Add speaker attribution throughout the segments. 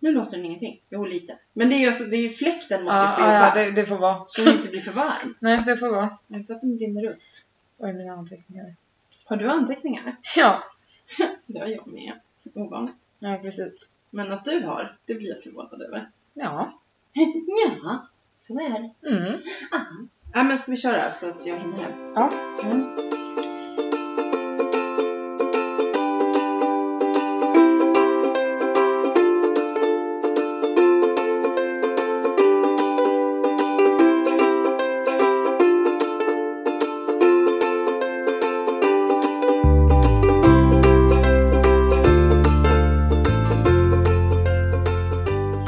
Speaker 1: Nu låter den ingenting. Jo, lite. Men det är ju, alltså, det är ju fläkten måste ju
Speaker 2: Ja,
Speaker 1: få
Speaker 2: ja,
Speaker 1: jobba.
Speaker 2: ja det, det får vara.
Speaker 1: Så den inte blir för varm.
Speaker 2: Nej, det får vara.
Speaker 1: Inte att den brinner upp.
Speaker 2: Oj, mina anteckningar.
Speaker 1: Har du anteckningar?
Speaker 2: Ja,
Speaker 1: Det har jag med. Ovanligt.
Speaker 2: ja precis.
Speaker 1: Men att du har, det blir jag förvånad över.
Speaker 2: Ja.
Speaker 1: Ja, så är det.
Speaker 2: Mm.
Speaker 1: Ja, men ska vi köra så att jag hinner hem?
Speaker 2: Ja.
Speaker 1: Mm.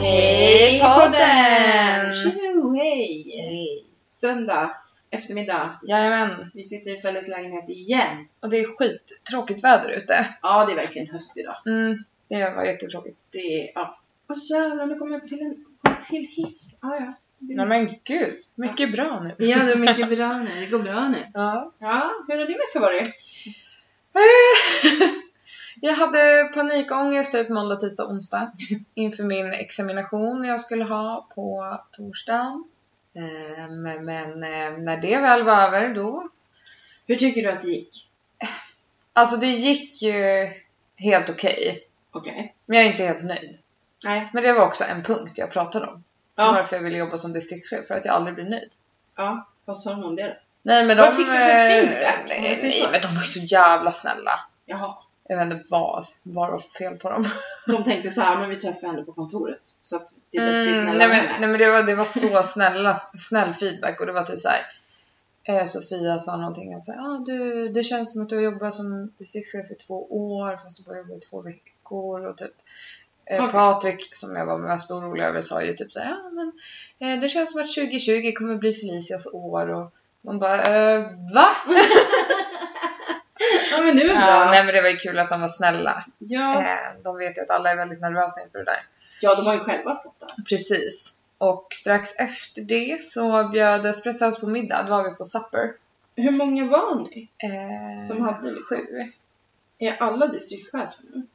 Speaker 1: Hej podden! Tjo, hej! Söndag eftermiddag.
Speaker 2: Jajamän.
Speaker 1: Vi sitter i Felles lägenhet igen.
Speaker 2: Och det är skittråkigt väder ute.
Speaker 1: Ja, det är verkligen höst idag.
Speaker 2: Mm. Det var jättetråkigt.
Speaker 1: Det är, ja. Åh jävlar, nu kommer jag till en till hiss. Ah, ja. Det
Speaker 2: Nej men gud, mycket bra nu.
Speaker 1: Ja, det är mycket bra nu. Det går bra nu.
Speaker 2: Ja.
Speaker 1: Ja, hur har din vecka varit?
Speaker 2: Jag hade panikångest typ måndag, tisdag, onsdag inför min examination jag skulle ha på torsdagen. Ehm, Men eh, när det väl var över då
Speaker 1: Hur tycker du att det gick?
Speaker 2: Alltså det gick ju helt okej,
Speaker 1: Okej.
Speaker 2: men jag är inte helt nöjd.
Speaker 1: Nej.
Speaker 2: Men det var också en punkt jag pratade om.
Speaker 1: Ja.
Speaker 2: Varför jag ville jobba som distriktschef, för att jag aldrig blir nöjd.
Speaker 1: ja. Vad sa hon om det då?
Speaker 2: Nej men
Speaker 1: Vad
Speaker 2: de...
Speaker 1: fick du för
Speaker 2: eh,
Speaker 1: feedback, om
Speaker 2: Nej,
Speaker 1: jag säger
Speaker 2: nej
Speaker 1: så?
Speaker 2: men de var så jävla snälla.
Speaker 1: Jaha.
Speaker 2: Jag vet inte vad, vad det var för fel på dem.
Speaker 1: De tänkte så här, men vi träffar henne på kontoret. Så att det är bäst vi är
Speaker 2: Mm,
Speaker 1: snälla med
Speaker 2: nej, men,
Speaker 1: henne.
Speaker 2: nej men det var, det var så snälla, snäll feedback och det var typ såhär eh, Sofia sa någonting, och så här, ah, du, det känns som att du har jobbat som distriktschef i två år fast du bara jobbar i två veckor och typ eh,
Speaker 1: Okej.
Speaker 2: Patrik som jag var mest orolig över sa ju typ såhär, ah, men eh, det känns som att 2020 kommer bli Felicias år och man bara, eh, va?
Speaker 1: Ja, men nu är det
Speaker 2: Ja,
Speaker 1: bra.
Speaker 2: nej men det var ju kul att de var snälla.
Speaker 1: Ja.
Speaker 2: Eh, de vet ju att alla är väldigt nervösa inför det där.
Speaker 1: ja, de har ju själva stått där.
Speaker 2: Precis. Och strax efter det så bjöd Espresso House på middag. Då var vi på supper.
Speaker 1: Hur många var ni?
Speaker 2: Eh,
Speaker 1: Som hade liksom-
Speaker 2: Sju.
Speaker 1: Är alla distriktschefer nu?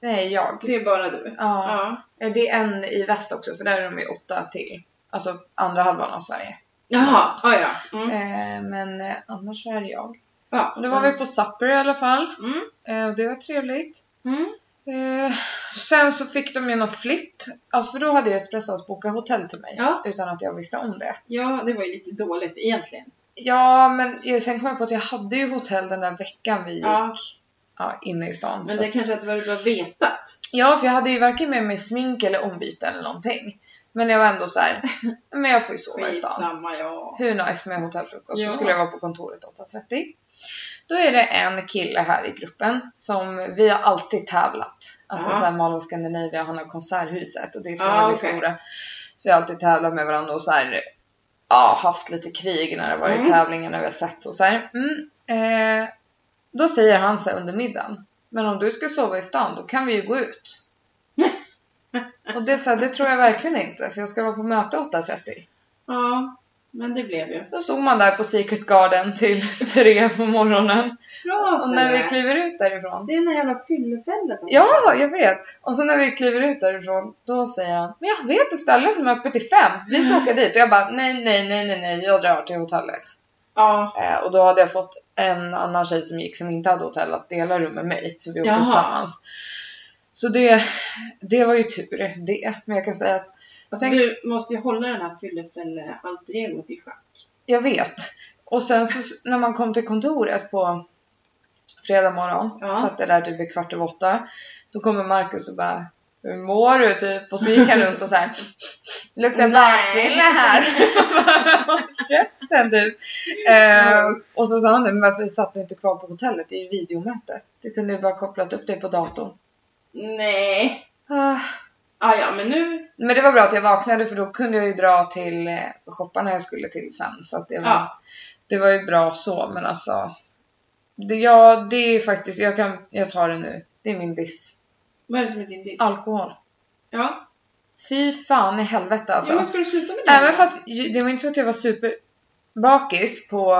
Speaker 2: Nej, jag.
Speaker 1: Det är bara du?
Speaker 2: Ja.
Speaker 1: Ja.
Speaker 2: Eh, Det är en i väst också, för där är de ju åtta till. Alltså andra halvan av Sverige.
Speaker 1: Jaha, ja, ja. Mm.
Speaker 2: Eh, men eh, annars så är det jag.
Speaker 1: ja.
Speaker 2: Och då var vi på supper i alla fall.
Speaker 1: Mm.
Speaker 2: Eh, och det var trevligt.
Speaker 1: Mm.
Speaker 2: Eh, sen så fick de ju någon flipp. Alltså för då hade ju Espresso House bokat hotell till mig.
Speaker 1: Ja.
Speaker 2: Utan att jag visste om det.
Speaker 1: Ja, det var ju lite dåligt egentligen.
Speaker 2: Ja, men eh, sen kom jag på att jag hade ju hotell den där veckan vi gick.
Speaker 1: Ja,
Speaker 2: ja, inne i stan.
Speaker 1: men
Speaker 2: så
Speaker 1: det
Speaker 2: att-
Speaker 1: kanske hade varit bra vetat.
Speaker 2: Ja, för jag hade ju varken med mig smink eller ombyte eller någonting. Men jag var ändå så här, men jag får ju sova i stan.
Speaker 1: Skitsamma, ja.
Speaker 2: Hur nice med hotellfrukost?
Speaker 1: Ja.
Speaker 2: Så skulle jag vara på kontoret 8.30. Då är det en kille här i gruppen som vi har alltid tävlat. Alltså
Speaker 1: Ja.
Speaker 2: så här Malå Scandinavia, han har Konserthuset och det är två
Speaker 1: Ah,
Speaker 2: väldigt
Speaker 1: okej.
Speaker 2: stora. Så jag har alltid tävlat med varandra och så här, ja, haft lite krig när det varit
Speaker 1: Mm.
Speaker 2: tävlingar när vi har sett så, så här. Mm, eh, då säger han så här under middagen, men om du ska sova i stan då kan vi ju gå ut. och det, är så här, det tror jag verkligen inte för jag ska vara på möte 8.30.
Speaker 1: Ja, men det blev ju.
Speaker 2: Då stod man där på Secret Garden till tre på morgonen.
Speaker 1: Bra
Speaker 2: Och
Speaker 1: för
Speaker 2: när vi
Speaker 1: det.
Speaker 2: kliver ut därifrån.
Speaker 1: Det är den här jävla fyllefällan som
Speaker 2: Ja, jag vet! Och så när vi kliver ut därifrån, då säger han Men jag vet ett ställe som är öppet till fem. Vi
Speaker 1: Mm.
Speaker 2: ska åka dit. Och jag bara nej, nej, nej, nej, nej, jag drar till hotellet.
Speaker 1: Ja,
Speaker 2: Eh, och då hade jag fått en annan tjej som gick som inte hade hotell att dela rum med mig. Så vi åkte
Speaker 1: Jaha.
Speaker 2: tillsammans. Så det, det var ju tur det. Men jag kan säga att
Speaker 1: alltså
Speaker 2: Sen-
Speaker 1: du måste ju hålla den här fyllefälle-alter egot i schack.
Speaker 2: Jag vet. Och sen så när man kom till kontoret på fredag morgon,
Speaker 1: Ja.
Speaker 2: satt jag där typ vid kvart över åtta. Då kommer Markus och bara Hur mår du? Typ. Och så gick han runt och så här Luktar
Speaker 1: Nej.
Speaker 2: bakfylla här! Håll Käften du! Eh, och så sa han "Men varför satt du inte kvar på hotellet? Det är ju videomöte. Du kunde ju bara kopplat upp dig på datorn.
Speaker 1: Nej.
Speaker 2: Ah.
Speaker 1: Ah, ja, men nu...
Speaker 2: Men det var bra att jag vaknade för då kunde jag ju dra till eh, shopparna jag skulle till sen. Så att det, var,
Speaker 1: Ja.
Speaker 2: det var ju bra så, men alltså. Det, ja, det är faktiskt, jag, kan, jag tar det nu. Det är min diss.
Speaker 1: Vad är det som är din ditt?
Speaker 2: Alkohol.
Speaker 1: Ja.
Speaker 2: Fy fan i helvete alltså.
Speaker 1: ja, men ska du sluta med det?
Speaker 2: Även fast ju- det var inte så att jag var superbakis på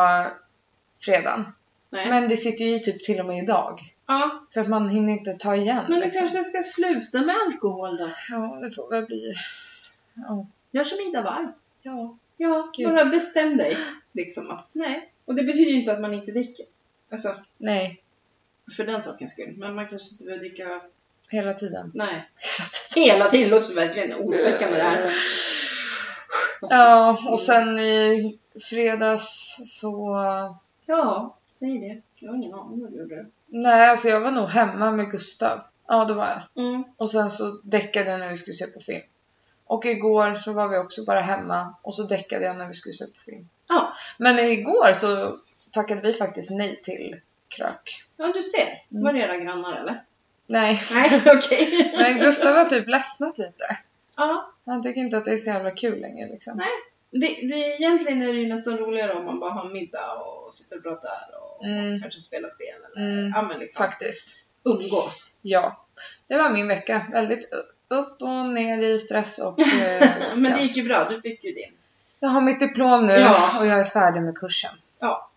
Speaker 2: fredagen.
Speaker 1: Nej.
Speaker 2: Men det sitter ju i typ till och med idag.
Speaker 1: Ja, Ja,
Speaker 2: För att man hinner inte ta igen.
Speaker 1: men du
Speaker 2: liksom.
Speaker 1: kanske ska sluta med alkohol då?
Speaker 2: Ja, det får väl bli... Ja.
Speaker 1: Gör som Ida Warg.
Speaker 2: ja.
Speaker 1: Ja,
Speaker 2: Gud.
Speaker 1: bara bestäm dig. Liksom att, nej. Och det betyder ju inte att man inte dricker. Alltså,
Speaker 2: Nej,
Speaker 1: för den sakens skull. Men man kanske inte behöver dricka,
Speaker 2: hela tiden.
Speaker 1: nej. Hela tiden låter verkligen oroväckande det här.
Speaker 2: Ja, och sen i fredags så...
Speaker 1: Ja, säg det. Jag har ingen aning vad du gjorde.
Speaker 2: Nej, alltså jag var nog hemma med Gustav. Ja, det var jag.
Speaker 1: Mm.
Speaker 2: Och sen så däckade jag när vi skulle se på film. Och igår så var vi också bara hemma och så däckade jag när vi skulle se på film.
Speaker 1: Ja.
Speaker 2: Men igår så tackade vi faktiskt nej till krök.
Speaker 1: ja, du ser.
Speaker 2: Mm.
Speaker 1: Var det era grannar eller?
Speaker 2: Nej,
Speaker 1: Nej, okej.
Speaker 2: men Gustav har typ ledsnat lite.
Speaker 1: Ja,
Speaker 2: Han tycker inte att det är så jävla kul längre liksom.
Speaker 1: Nej. det, det, egentligen är det ju nästan roligare om man bara har middag och sitter och pratar och
Speaker 2: Mm.
Speaker 1: kanske spelar spel eller
Speaker 2: Mm,
Speaker 1: ja, men liksom,
Speaker 2: faktiskt.
Speaker 1: umgås.
Speaker 2: Ja. Det var min vecka. Väldigt u- upp och ner i stress och... eh,
Speaker 1: Men det
Speaker 2: kaos.
Speaker 1: gick ju bra, du fick ju din.
Speaker 2: Jag har mitt diplom nu
Speaker 1: Ja.
Speaker 2: och jag är färdig med kursen.
Speaker 1: Ja.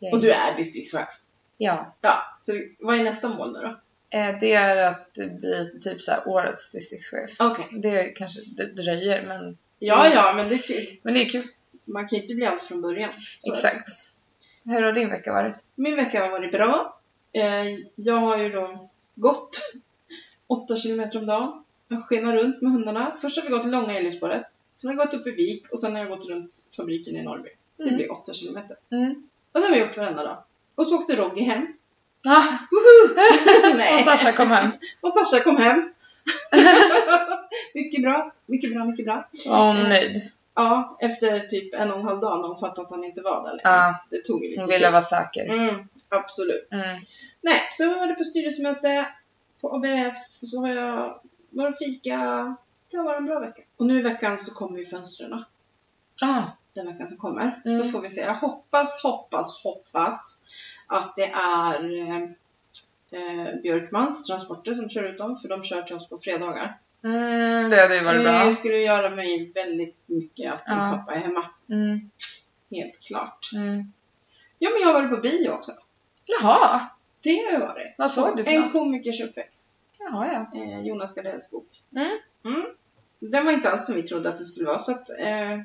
Speaker 2: Yay.
Speaker 1: Och du är distriktschef.
Speaker 2: Ja.
Speaker 1: Ja, så det- vad är nästa mål nu då?
Speaker 2: Eh, Det är att bli typ så här årets distriktschef.
Speaker 1: Okej.
Speaker 2: Det kanske det dröjer, men,
Speaker 1: Ja, ja, men det,
Speaker 2: men det är kul.
Speaker 1: man kan ju inte bli allt från början. Så-
Speaker 2: Exakt. Hur har din vecka varit?
Speaker 1: Min vecka har varit bra. Eh, Jag har ju då gått 8 kilometer om dagen. Jag skenar runt med hundarna. Först har vi gått långa Älvsborget. Sen har jag gått upp i Vik och sen har jag gått runt fabriken i Norrby. Det
Speaker 2: Mm.
Speaker 1: blir 8 kilometer.
Speaker 2: Mm.
Speaker 1: Och det har vi gjort varenda dag. Och så åkte Rogge hem.
Speaker 2: Ah,
Speaker 1: Woho!
Speaker 2: och
Speaker 1: Nej.
Speaker 2: Sasha kom hem.
Speaker 1: Och Sasha kom hem. mycket bra, mycket bra, mycket bra.
Speaker 2: Var hon nöjd?
Speaker 1: Ja, efter typ en och en halv dag när hon fattade att han inte var där längre.
Speaker 2: Ja,
Speaker 1: Det tog ju lite
Speaker 2: hon ville vara säker.
Speaker 1: Mm, absolut.
Speaker 2: Mm.
Speaker 1: Nej, så jag var det på styrelsemöte på ABF och så har jag var och fika. Det har varit en bra vecka. Och nu i veckan så kommer ju fönstren.
Speaker 2: Ah,
Speaker 1: Den veckan som kommer.
Speaker 2: Mm.
Speaker 1: Så får vi se. Jag hoppas, hoppas, hoppas att det är eh, eh, Björkmans transporter som kör ut dem. För de kör till oss på fredagar.
Speaker 2: mm, det hade ju varit bra.
Speaker 1: Det skulle göra mig väldigt mycket att min
Speaker 2: Ja.
Speaker 1: pappa är hemma.
Speaker 2: Mm.
Speaker 1: Helt klart.
Speaker 2: Mm.
Speaker 1: Ja, men jag har varit på bio också.
Speaker 2: Jaha,
Speaker 1: Det har jag varit.
Speaker 2: vad såg du för
Speaker 1: En
Speaker 2: något?
Speaker 1: komikers uppväxt.
Speaker 2: Jaha, ja.
Speaker 1: eh, Jonas Gardells bok.
Speaker 2: Mm.
Speaker 1: Mm. Den var inte alls som vi trodde att det skulle vara så att eh,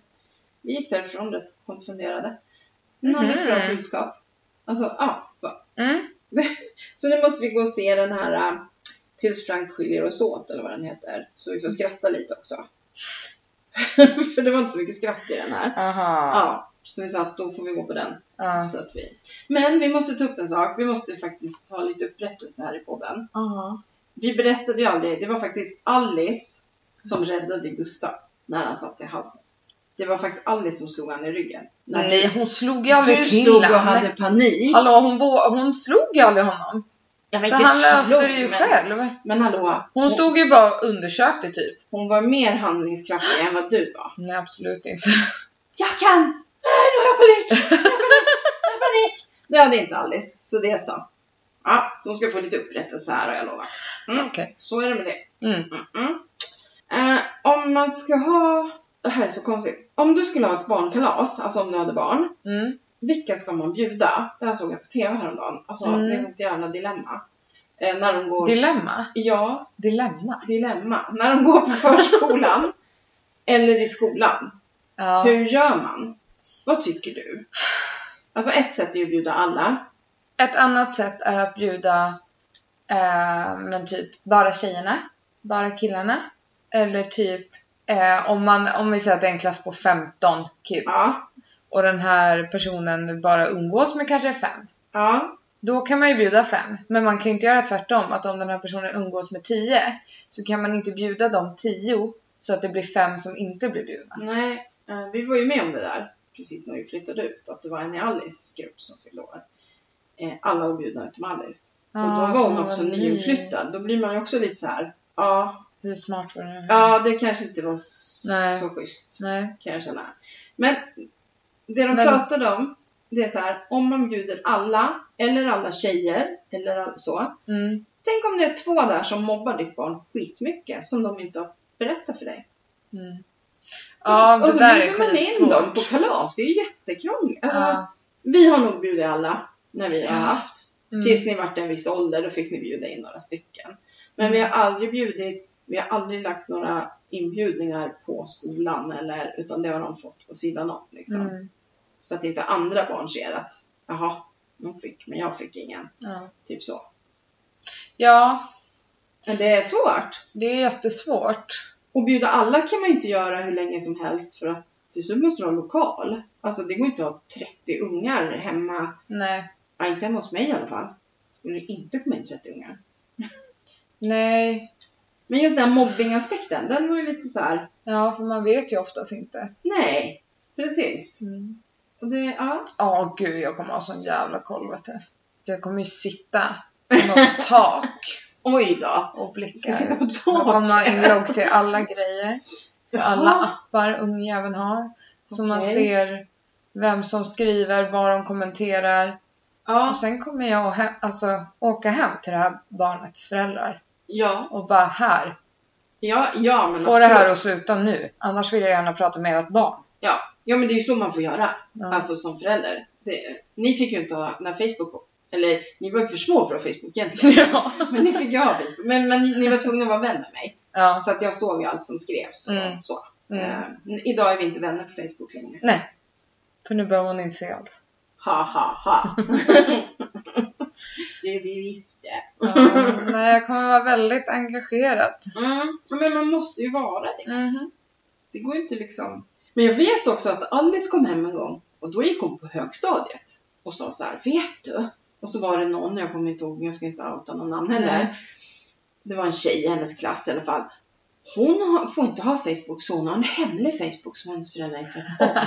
Speaker 1: vi gick därifrån rätt konfunderade. Den hade ett bra
Speaker 2: Mhm.
Speaker 1: budskap. Alltså, ja. va.
Speaker 2: Mm.
Speaker 1: så nu måste vi gå och se den här eh, Tills Frank skiljer oss åt eller vad den heter. Så vi får skratta lite också. För det var inte så mycket skratt i den här.
Speaker 2: Aha.
Speaker 1: Ja, så vi sa att då får vi gå på den.
Speaker 2: Ja.
Speaker 1: Så att vi... Men vi måste ta upp en sak. Vi måste faktiskt ha lite upprättelse här i podden.
Speaker 2: Aha.
Speaker 1: Vi berättade ju aldrig, det var faktiskt Alice som räddade Gustav när han satt i halsen. Det var faktiskt Alice som slog han i ryggen. När
Speaker 2: Nej, hon slog ju aldrig
Speaker 1: du
Speaker 2: till
Speaker 1: stod och
Speaker 2: honom.
Speaker 1: hade panik.
Speaker 2: Hallå, hon, vå- hon slog ju aldrig honom.
Speaker 1: Jag vet
Speaker 2: Så
Speaker 1: inte,
Speaker 2: han löste
Speaker 1: slog,
Speaker 2: det ju
Speaker 1: men,
Speaker 2: själv.
Speaker 1: Men hallå,
Speaker 2: Hon stod ju bara och undersökte typ.
Speaker 1: hon var mer handlingskraftig än vad du var.
Speaker 2: Nej, absolut inte.
Speaker 1: Jag kan! Nej, nu har jag panik! Jag har panik! Jag har panik! Det hade inte Alice, så det så. Ja, de ska få lite upprättelse här har jag lovat. Mm.
Speaker 2: Okej.
Speaker 1: Så är det med det.
Speaker 2: Mm.
Speaker 1: Mm. Eh, om man ska ha... Det här är så konstigt. Om du skulle ha ett barnkalas, alltså om du hade barn.
Speaker 2: Mm.
Speaker 1: Vilka ska man bjuda? Det här såg jag på TV häromdagen. Alltså
Speaker 2: Mm.
Speaker 1: det är ett sånt jävla dilemma. Eh, när de går...
Speaker 2: Dilemma.
Speaker 1: ja,
Speaker 2: Dilemma.
Speaker 1: dilemma. När de går på förskolan. eller i skolan.
Speaker 2: Ja.
Speaker 1: Hur gör man? Vad tycker du? Alltså ett sätt är ju att bjuda alla.
Speaker 2: Ett annat sätt är att bjuda eh, men typ bara tjejerna, bara killarna. Eller typ eh, om, man, om vi säger att det är en klass på 15 kids
Speaker 1: Ja.
Speaker 2: och den här personen bara umgås med kanske fem.
Speaker 1: Ja.
Speaker 2: Då kan man ju bjuda fem, men man kan ju inte göra tvärtom. Att om den här personen umgås med tio så kan man inte bjuda de tio så att det blir fem som inte blir bjudna.
Speaker 1: Nej, eh, vi var ju med om det där precis när vi flyttade ut. Att det var en i Alice grupp som fyllde år. Eh, Alla var bjudna utom Alice. och
Speaker 2: Ah,
Speaker 1: då var hon
Speaker 2: fan,
Speaker 1: också
Speaker 2: vad
Speaker 1: nyinflyttad. Då blir man ju också lite så här. Ja,
Speaker 2: ny. Hur smart var det?
Speaker 1: ja det kanske inte var s-
Speaker 2: Nej.
Speaker 1: så schysst
Speaker 2: Nej.
Speaker 1: kan jag känna. Men det de
Speaker 2: Men-
Speaker 1: pratade om, det är så här. Om man bjuder alla, eller alla tjejer, eller all- så.
Speaker 2: Mm.
Speaker 1: Tänk om det är två där som mobbar ditt barn skitmycket som de inte har berättat för dig.
Speaker 2: Mm. Ja,
Speaker 1: och
Speaker 2: det
Speaker 1: så
Speaker 2: där är
Speaker 1: bjuder man in dem
Speaker 2: skitsvårt.
Speaker 1: på kalas. Det är ju jättekrångligt. Alltså,
Speaker 2: Ja.
Speaker 1: Vi har nog bjudit alla när vi
Speaker 2: Ja.
Speaker 1: har haft.
Speaker 2: Mm.
Speaker 1: Tills ni vart en viss ålder, då fick ni bjuda in några stycken. Men vi har aldrig bjudit, vi har aldrig lagt några inbjudningar på skolan eller, utan det har de fått på sidan om liksom.
Speaker 2: Mm.
Speaker 1: Så att inte andra barn ser att, jaha, de fick, men jag fick ingen.
Speaker 2: Ja.
Speaker 1: Typ så.
Speaker 2: ja,
Speaker 1: Men det är svårt.
Speaker 2: det är jättesvårt.
Speaker 1: Och bjuda alla kan man ju inte göra hur länge som helst för att till slut måste du ha lokal. Alltså det går inte att ha 30 ungar hemma,
Speaker 2: Nej.
Speaker 1: ja, inte hemma hos mig i alla fall. Skulle det inte komma in 30 ungar.
Speaker 2: Nej.
Speaker 1: Men just den här mobbingaspekten, den var ju lite så här.
Speaker 2: Ja, för man vet ju oftast inte.
Speaker 1: nej, precis.
Speaker 2: Mm.
Speaker 1: Och det, ja.
Speaker 2: Ja, gud, jag kommer ha sån jävla koll, vet du. Jag kommer ju sitta på något tak
Speaker 1: Oj då.
Speaker 2: och
Speaker 1: Du
Speaker 2: blicka
Speaker 1: ska sitta på
Speaker 2: ut.
Speaker 1: tak.
Speaker 2: Jag kommer ha inlogg till alla grejer. För
Speaker 1: Jaha.
Speaker 2: alla appar ungjäveln har. Så man
Speaker 1: Okej.
Speaker 2: ser vem som skriver, vad de kommenterar.
Speaker 1: Ja.
Speaker 2: Och sen kommer jag att he- alltså, åka hem till det här barnets föräldrar
Speaker 1: Ja.
Speaker 2: och bara här,
Speaker 1: Ja, ja men
Speaker 2: få det här
Speaker 1: absolut.
Speaker 2: att sluta nu. Annars vill jag gärna prata med ert barn.
Speaker 1: Ja. ja, men det är ju så man får göra.
Speaker 2: Ja.
Speaker 1: Alltså som förälder. Det, ni fick ju inte ha, när Facebook kom. Eller ni var ju för små för att ha Facebook egentligen.
Speaker 2: ja.
Speaker 1: Men ni fick ju ha Facebook. Men, men ni var tvungna att vara vän med mig.
Speaker 2: ja.
Speaker 1: Så att jag såg ju allt som skrevs och
Speaker 2: Mm.
Speaker 1: så.
Speaker 2: Mm.
Speaker 1: Eh, idag är vi inte vänner på Facebook längre.
Speaker 2: Nej. För nu behöver hon inte se allt.
Speaker 1: Ha ha ha. det vi visste.
Speaker 2: Ja, nej, jag kommer vara väldigt engagerad.
Speaker 1: Mm. ja, Men man måste ju vara det.
Speaker 2: Mhm.
Speaker 1: Det går ju inte liksom. Men jag vet också att Alice kom hem en gång och då gick hon på högstadiet och sa så här, vet du? Och så var det någon, jag kommer inte ihåg, jag ska inte outa någon namn heller.
Speaker 2: Nej.
Speaker 1: Det var en tjej i hennes klass i alla fall. Hon har, får inte ha Facebook så hon har en hemlig Facebook som hennes föräldrar inte vet om.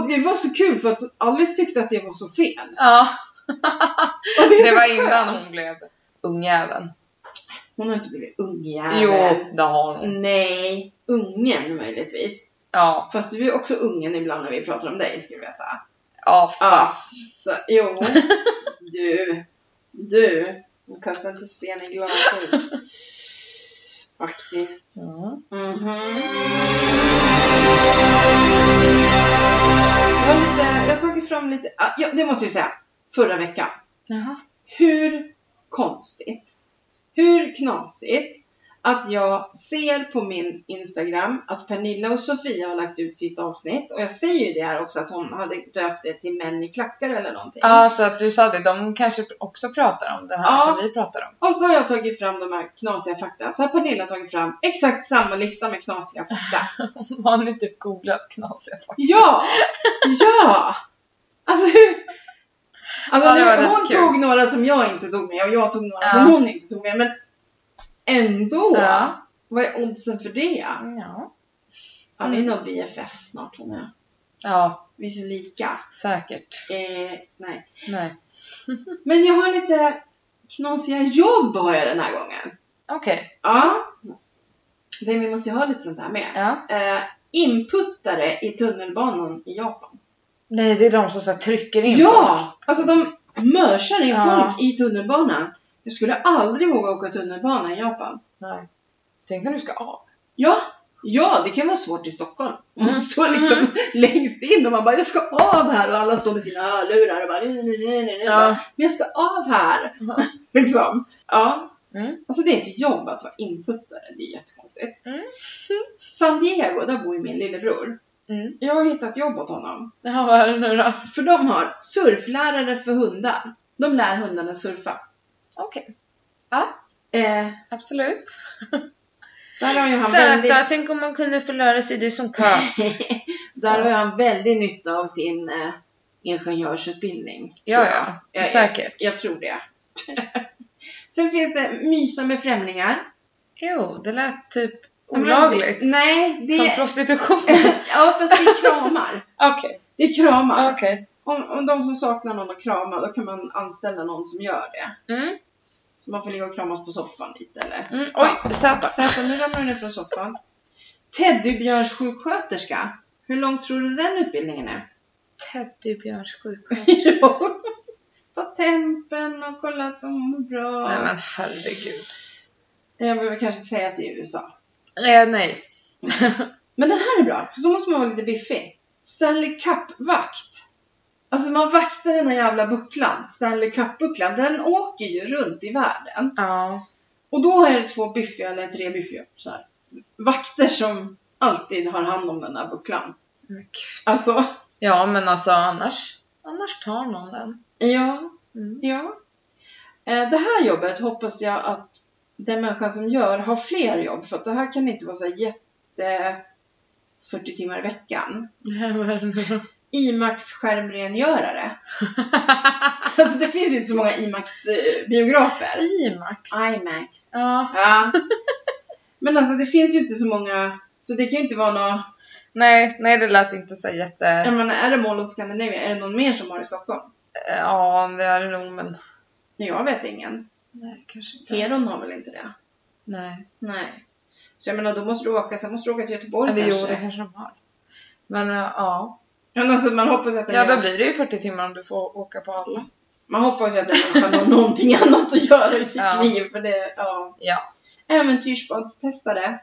Speaker 1: Och det var så kul för att Alice tyckte att det var så fel.
Speaker 2: Ja,
Speaker 1: Och är
Speaker 2: det
Speaker 1: så
Speaker 2: var
Speaker 1: skönt.
Speaker 2: innan hon blev ungjäveln.
Speaker 1: Hon har inte blivit ungjävel.
Speaker 2: Jo, det har hon.
Speaker 1: Nej, ungen möjligtvis.
Speaker 2: Ja,
Speaker 1: Fast du är också ungen ibland när vi pratar om dig, ska du veta.
Speaker 2: ja
Speaker 1: Ja,
Speaker 2: fast.
Speaker 1: så, jo. Du. Du. Du kastar inte sten i glashus. Faktiskt.
Speaker 2: Mm.
Speaker 1: Mhm. Jag, har lite, jag har tagit fram lite, ah, ja, det måste jag säga, förra veckan.
Speaker 2: Jaha.
Speaker 1: Hur konstigt, hur knasigt att jag ser på min Instagram att Pernilla och Sofia har lagt ut sitt avsnitt och jag säger ju det här också att hon hade döpt det till män i klackar eller någonting.
Speaker 2: Ja, så att du sa det. De kanske också pratar om det här
Speaker 1: Ja.
Speaker 2: som vi pratar om.
Speaker 1: Och så har jag tagit fram de här knasiga fakta. Så har Pernilla tagit fram exakt samma lista med knasiga fakta.
Speaker 2: Har ni typ googlat knasiga fakta?
Speaker 1: Ja! Ja! Alltså hur? Alltså
Speaker 2: Ja, det var
Speaker 1: nu,
Speaker 2: rätt
Speaker 1: hon
Speaker 2: kul.
Speaker 1: tog några som jag inte tog med och jag tog några
Speaker 2: Ja.
Speaker 1: som hon inte tog med. Men ändå!
Speaker 2: Ja.
Speaker 1: Vad är oddsen för det?
Speaker 2: Ja.
Speaker 1: Ja,
Speaker 2: Mm.
Speaker 1: det är nog BFF snart hon är.
Speaker 2: Ja,
Speaker 1: Vi är så lika.
Speaker 2: säkert.
Speaker 1: Eh, nej.
Speaker 2: Nej.
Speaker 1: Men jag har lite knasiga jobb har jag den här gången.
Speaker 2: Okej.
Speaker 1: Ja. Det, vi måste ju ha lite sånt här med.
Speaker 2: Ja.
Speaker 1: eh, inputtare i tunnelbanan i Japan.
Speaker 2: Nej, det är de som så här trycker in
Speaker 1: Ja! Alltså de mörsar in
Speaker 2: Ja.
Speaker 1: folk i tunnelbanan. Jag skulle aldrig våga åka tunnelbana i Japan.
Speaker 2: Nej. Tänk när du ska av.
Speaker 1: Ja, ja det kan vara svårt i Stockholm. Man
Speaker 2: Mm.
Speaker 1: står liksom längst in och man bara, jag ska av här och alla står med sina hörlurar och bara, nej, nej, nej, nej, nej.
Speaker 2: Ja.
Speaker 1: Men jag ska av här. Liksom. Ja.
Speaker 2: Mm.
Speaker 1: Alltså det är ett jobb att vara inputtare, det är jättekonstigt.
Speaker 2: Mm.
Speaker 1: San Diego, där bor ju min lillebror.
Speaker 2: Mm.
Speaker 1: Jag har hittat jobb åt honom.
Speaker 2: Ja, vad är det nu då?
Speaker 1: För de har surflärare för hundar. De lär hundarna surfa.
Speaker 2: Okej.
Speaker 1: Eh,
Speaker 2: Absolut.
Speaker 1: där har ju han väldigt,
Speaker 2: Söta, tänk om man kunde förlöra sig det som katt.
Speaker 1: där har ju han väldigt nytta av sin eh, ingenjörsutbildning. tror jag.
Speaker 2: Ja, ja.
Speaker 1: Jag-
Speaker 2: Säkert.
Speaker 1: Jag tror det. Sen finns det mysa med främlingar.
Speaker 2: Jo, det lät typ
Speaker 1: Ja, men
Speaker 2: olagligt.
Speaker 1: Det, nej, det
Speaker 2: Som
Speaker 1: är...
Speaker 2: prostitution.
Speaker 1: ja, fast det är kramar.
Speaker 2: Okej.
Speaker 1: Det är kramar.
Speaker 2: Okej.
Speaker 1: Om, om de som saknar någon att krama, då kan man anställa någon som gör det.
Speaker 2: Mm.
Speaker 1: Så man får ligga och kramas på soffan lite eller
Speaker 2: Mm. Oj, söta.
Speaker 1: Så alltså, nu ramlar du ner från soffan. Teddybjörnssjuksköterska. Hur långt tror du den utbildningen är?
Speaker 2: Teddybjörnssjuksköterska.
Speaker 1: Ja. Ta tempen och kolla att de mår bra.
Speaker 2: Nej men herregud.
Speaker 1: Jag behöver kanske inte säga att det är i USA.
Speaker 2: Eh, nej.
Speaker 1: Men den här är bra, för så måste man vara lite biffig. Stanley Cup-vakt. Alltså man vaktar den här jävla bucklan, Stanley Cup-bucklan, den åker ju runt i världen.
Speaker 2: Ja.
Speaker 1: Och då är det två biffiga, eller tre biffiga, så här, vakter som alltid har hand om den här bucklan.
Speaker 2: Men gud.
Speaker 1: Alltså,
Speaker 2: Ja, men alltså annars, annars tar någon den.
Speaker 1: ja,
Speaker 2: Mm.
Speaker 1: ja. Eh, Det här jobbet hoppas jag att den människan som gör har fler jobb, för att det här kan inte vara så här jätte 40 timmar i veckan. IMAX-skärmrengörare. alltså det finns ju inte så många IMAX-biografer.
Speaker 2: IMAX.
Speaker 1: IMAX.
Speaker 2: Ja.
Speaker 1: Ja. Men alltså det finns ju inte så många, så det kan ju inte vara någon,
Speaker 2: Nej, nej, det lät inte så jätte...
Speaker 1: jag menar är det Mall of Scandinavia, är det någon mer som har i Stockholm?
Speaker 2: Ja, det är det nog, men...
Speaker 1: Nej, jag vet ingen.
Speaker 2: Nej, kanske inte.
Speaker 1: Heron har väl inte det?
Speaker 2: Nej.
Speaker 1: Nej. Så jag menar, då måste du åka, sen måste du åka till Göteborg
Speaker 2: Eller jo,
Speaker 1: kanske.
Speaker 2: det kanske de har. Men eh, ja.
Speaker 1: Men alltså man hoppas att den
Speaker 2: Ja, då
Speaker 1: gör,
Speaker 2: blir det Mm. ju 40 timmar om du får åka på alla.
Speaker 1: man hoppas ju att den människan har någonting annat att göra i sitt
Speaker 2: Ja.
Speaker 1: liv. För det, ja.
Speaker 2: Ja.
Speaker 1: Äventyrsbadstestare.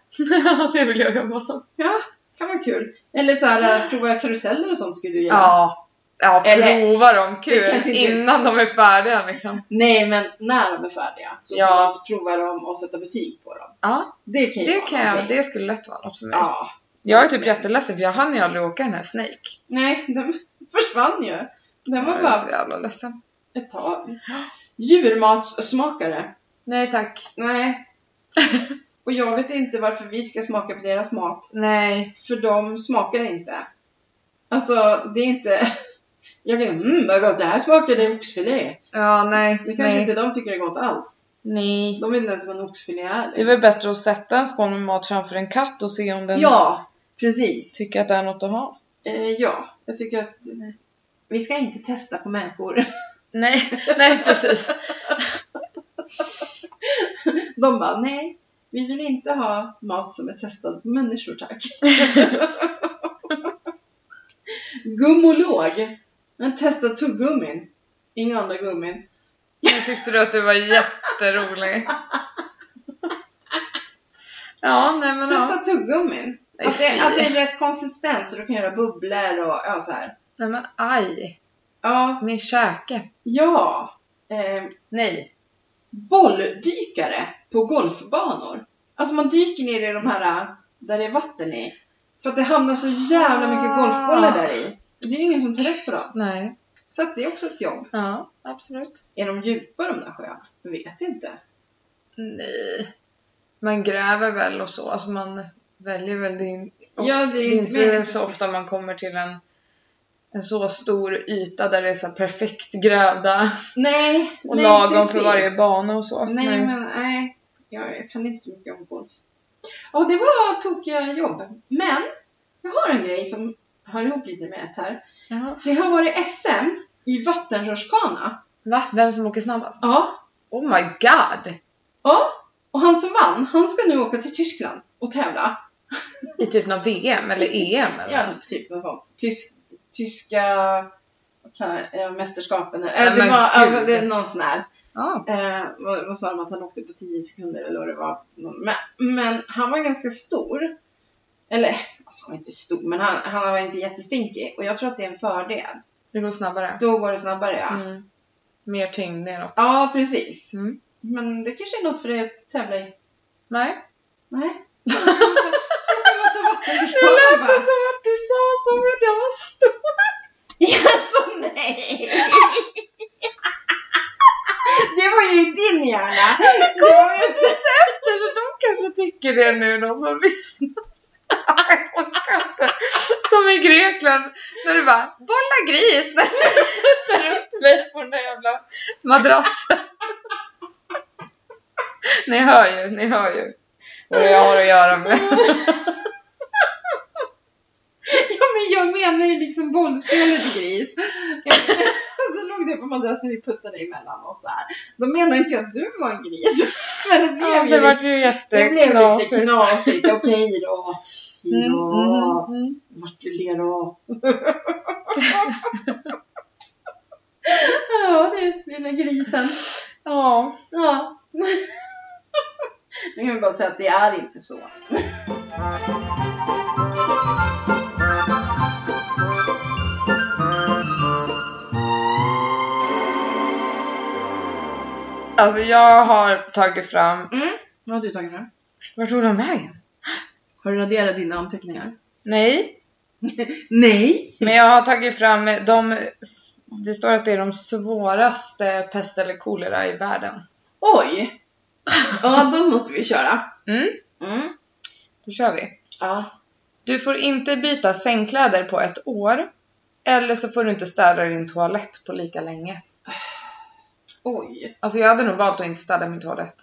Speaker 2: det vill jag jobba som.
Speaker 1: Ja, kan vara kul. Eller så här, prova karuseller och sånt skulle du gilla.
Speaker 2: Ja. Ja,
Speaker 1: Eller-
Speaker 2: prova dem
Speaker 1: Det
Speaker 2: kul
Speaker 1: kanske inte-
Speaker 2: innan de är färdiga liksom.
Speaker 1: Nej, men när de är färdiga så får
Speaker 2: Ja.
Speaker 1: man prova dem och sätta betyg på dem.
Speaker 2: Ja,
Speaker 1: Det kan ju
Speaker 2: det
Speaker 1: vara
Speaker 2: kan jag.
Speaker 1: någonting.
Speaker 2: Det skulle lätt vara något för mig.
Speaker 1: Ja.
Speaker 2: Jag är typ jätteledsen för jag hann ju aldrig åka den här Snake.
Speaker 1: Nej, den försvann ju. Den var
Speaker 2: jag är så
Speaker 1: bara
Speaker 2: jävla ledsen.
Speaker 1: ett tag. Djurmatssmakare.
Speaker 2: Nej tack.
Speaker 1: Nej. Och jag vet inte varför vi ska smaka på deras mat.
Speaker 2: Nej.
Speaker 1: För de smakar inte. Alltså, det är inte... Jag vet inte, mm vad gott det här smakar, det är oxfilé.
Speaker 2: Ja, nej.
Speaker 1: Det kanske
Speaker 2: nej.
Speaker 1: inte de tycker är gott alls.
Speaker 2: nej.
Speaker 1: De vet inte ens vad en oxfilé är.
Speaker 2: Det är väl bättre att sätta en skål med mat framför en katt och se om den
Speaker 1: Ja, precis.
Speaker 2: tycker att det är något att ha.
Speaker 1: Eh, ja, jag tycker att vi ska inte testa på människor.
Speaker 2: Nej, nej precis.
Speaker 1: De bara, nej, vi vill inte ha mat som är testad på människor, tack. Gummolog. Men testa tuggummin. Inga andra gummin.
Speaker 2: Nu tyckte du att du var jätterolig. Ja, nej men
Speaker 1: Testa
Speaker 2: ja.
Speaker 1: tuggummin.
Speaker 2: Nej,
Speaker 1: Att det,
Speaker 2: fy.
Speaker 1: att det är rätt konsistens så du kan göra bubblor och ja, så här.
Speaker 2: Nej men aj.
Speaker 1: Ja,
Speaker 2: Min käke.
Speaker 1: ja. Eh,
Speaker 2: Nej.
Speaker 1: bolldykare på golfbanor. Alltså man dyker ner i de här äh, där det är vatten i. För att det hamnar så jävla mycket
Speaker 2: Ah.
Speaker 1: golfbollar där i. Det är ju ingen som tar rätt på dem.
Speaker 2: Nej.
Speaker 1: Så att det är också ett jobb.
Speaker 2: Ja, absolut.
Speaker 1: Är de djupa de där sjöarna? Jag vet inte.
Speaker 2: Nej. Man gräver väl och så. Alltså man väljer väl din... och
Speaker 1: Ja, det är
Speaker 2: det är
Speaker 1: inte mer än
Speaker 2: inte så ofta man kommer till en, en så stor yta där det är så här perfekt grävda
Speaker 1: Nej,
Speaker 2: och
Speaker 1: nej,
Speaker 2: lagom
Speaker 1: precis.
Speaker 2: för varje bana och så.
Speaker 1: Nej, men nej. Jag, jag kan inte så mycket om golf. Ja, det var tokiga jobb. Men jag har en grej som hör ihop lite med ett här.
Speaker 2: Jaha.
Speaker 1: Det har varit SM i vattenrutschkana.
Speaker 2: Va? Vem som åker snabbast?
Speaker 1: Ja,
Speaker 2: Oh my god!
Speaker 1: Ja, och han som vann, han ska nu åka till Tyskland och tävla.
Speaker 2: I typ någon VM eller EM eller
Speaker 1: Ja,
Speaker 2: något.
Speaker 1: typ något sånt. Tysk, tyska vad kallar jag, eh, mästerskapen. eller-
Speaker 2: Nej,
Speaker 1: Eh, det
Speaker 2: men
Speaker 1: var alltså,
Speaker 2: gud.
Speaker 1: det är någon sån här.
Speaker 2: Ja.
Speaker 1: Eh, vad, vad sa de att han åkte på 10 sekunder eller vad det var. Men, men han var ganska stor. Eller, alltså han var inte stor, men han, han var inte jättespinkig. Och jag tror att det är en fördel.
Speaker 2: Det går snabbare.
Speaker 1: Då går det snabbare ja.
Speaker 2: Mm. Mer tyngd neråt.
Speaker 1: Ja, precis.
Speaker 2: Mm.
Speaker 1: Men det kanske är något för dig att tävla i.
Speaker 2: Nej.
Speaker 1: Nej. Det är en massa
Speaker 2: Det
Speaker 1: vattenrutschkanor
Speaker 2: lät
Speaker 1: bara.
Speaker 2: som att du sa som att jag var stor.
Speaker 1: Alltså nej! Det var ju i din hjärna! Det var ju inte...
Speaker 2: efter så de kanske tycker det nu, de som lyssnar. Jag orkar inte. Som i Grekland, när du bara bolla gris när du sätter runt mig på den där jävla madrassen. Ni hör ju, ni hör ju vad jag har att göra med.
Speaker 1: Ja men jag menar ju liksom bollspelet gris. Så låg du på madrassen vi puttade emellan oss så här. Då menar inte jag att du var en gris. Men det blev
Speaker 2: Ja,
Speaker 1: ju
Speaker 2: det
Speaker 1: lite,
Speaker 2: vart ju
Speaker 1: det blev lite
Speaker 2: jätteknasigt.
Speaker 1: knasigt. Okej då.
Speaker 2: Mm,
Speaker 1: Ja,
Speaker 2: mm, mm.
Speaker 1: vart du ler av. Ja du, lilla grisen.
Speaker 2: Ja.
Speaker 1: Ja. Nu kan vi bara säga att det är inte så.
Speaker 2: Alltså jag har tagit fram...
Speaker 1: Vad har du tagit fram?
Speaker 2: Vart tog de vägen?
Speaker 1: Har du raderat dina anteckningar?
Speaker 2: Nej,
Speaker 1: Nej!
Speaker 2: men jag har tagit fram de... Det står att det är de svåraste pest eller kolera i världen.
Speaker 1: Oj! Ja, då måste vi köra.
Speaker 2: Mm,
Speaker 1: Mm.
Speaker 2: då kör vi.
Speaker 1: Ja.
Speaker 2: Du får inte byta sängkläder på ett år. Eller så får du inte städa din toalett på lika länge.
Speaker 1: Oj.
Speaker 2: Alltså jag hade nog valt att inte städa min toalett.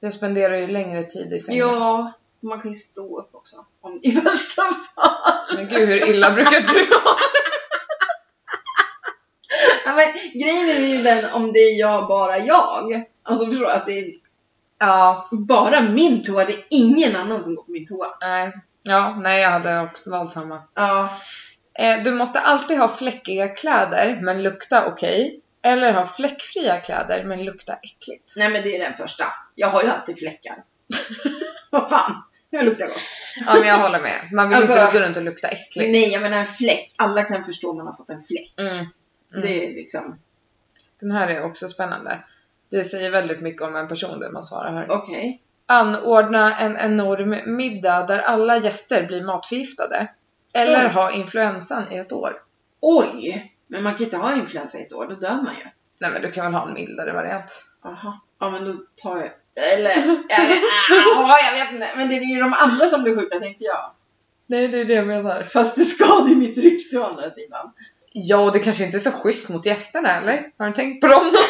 Speaker 2: Jag spenderar ju längre tid i sängen.
Speaker 1: Ja, man kan ju stå upp också. Om, I värsta fall.
Speaker 2: Men gud hur illa brukar du ha
Speaker 1: Ja, men, grejen är ju den om det är jag, bara jag. Alltså förstår du? Att det är
Speaker 2: Ja,
Speaker 1: bara min toa. Det är ingen annan som går på min toa.
Speaker 2: nej. Ja, nej jag hade också valt samma.
Speaker 1: Ja.
Speaker 2: Eh, du måste alltid ha fläckiga kläder men lukta okej. Eller ha fläckfria kläder men lukta äckligt.
Speaker 1: Nej men det är den första. Jag har ju alltid fläckar. Vad fan. Jag luktar gott.
Speaker 2: Ja men jag håller med. Man vill inte
Speaker 1: Alltså-
Speaker 2: gå runt och lukta äckligt.
Speaker 1: Nej, jag menar en fläck. Alla kan förstå om man har fått en fläck.
Speaker 2: Mm. Mm.
Speaker 1: Det är liksom...
Speaker 2: Den här är också spännande. Det säger väldigt mycket om en person det man svarar här.
Speaker 1: Okej.
Speaker 2: Anordna en enorm middag där alla gäster blir matförgiftade. Eller
Speaker 1: Mm.
Speaker 2: ha influensan i ett år.
Speaker 1: Oj! Men man kan inte ha influensa i ett år, då dör man ju.
Speaker 2: Nej men du kan väl ha en mildare variant.
Speaker 1: Aha. Ja, men då tar jag... Eller... eller ja, jag vet inte. Men det är ju de andra som blir sjuka, tänkte jag.
Speaker 2: Nej det är det jag menar.
Speaker 1: Fast det skadar ju mitt rykte å andra sidan.
Speaker 2: Ja och det kanske inte är så schysst mot gästerna eller? Har du tänkt på dem?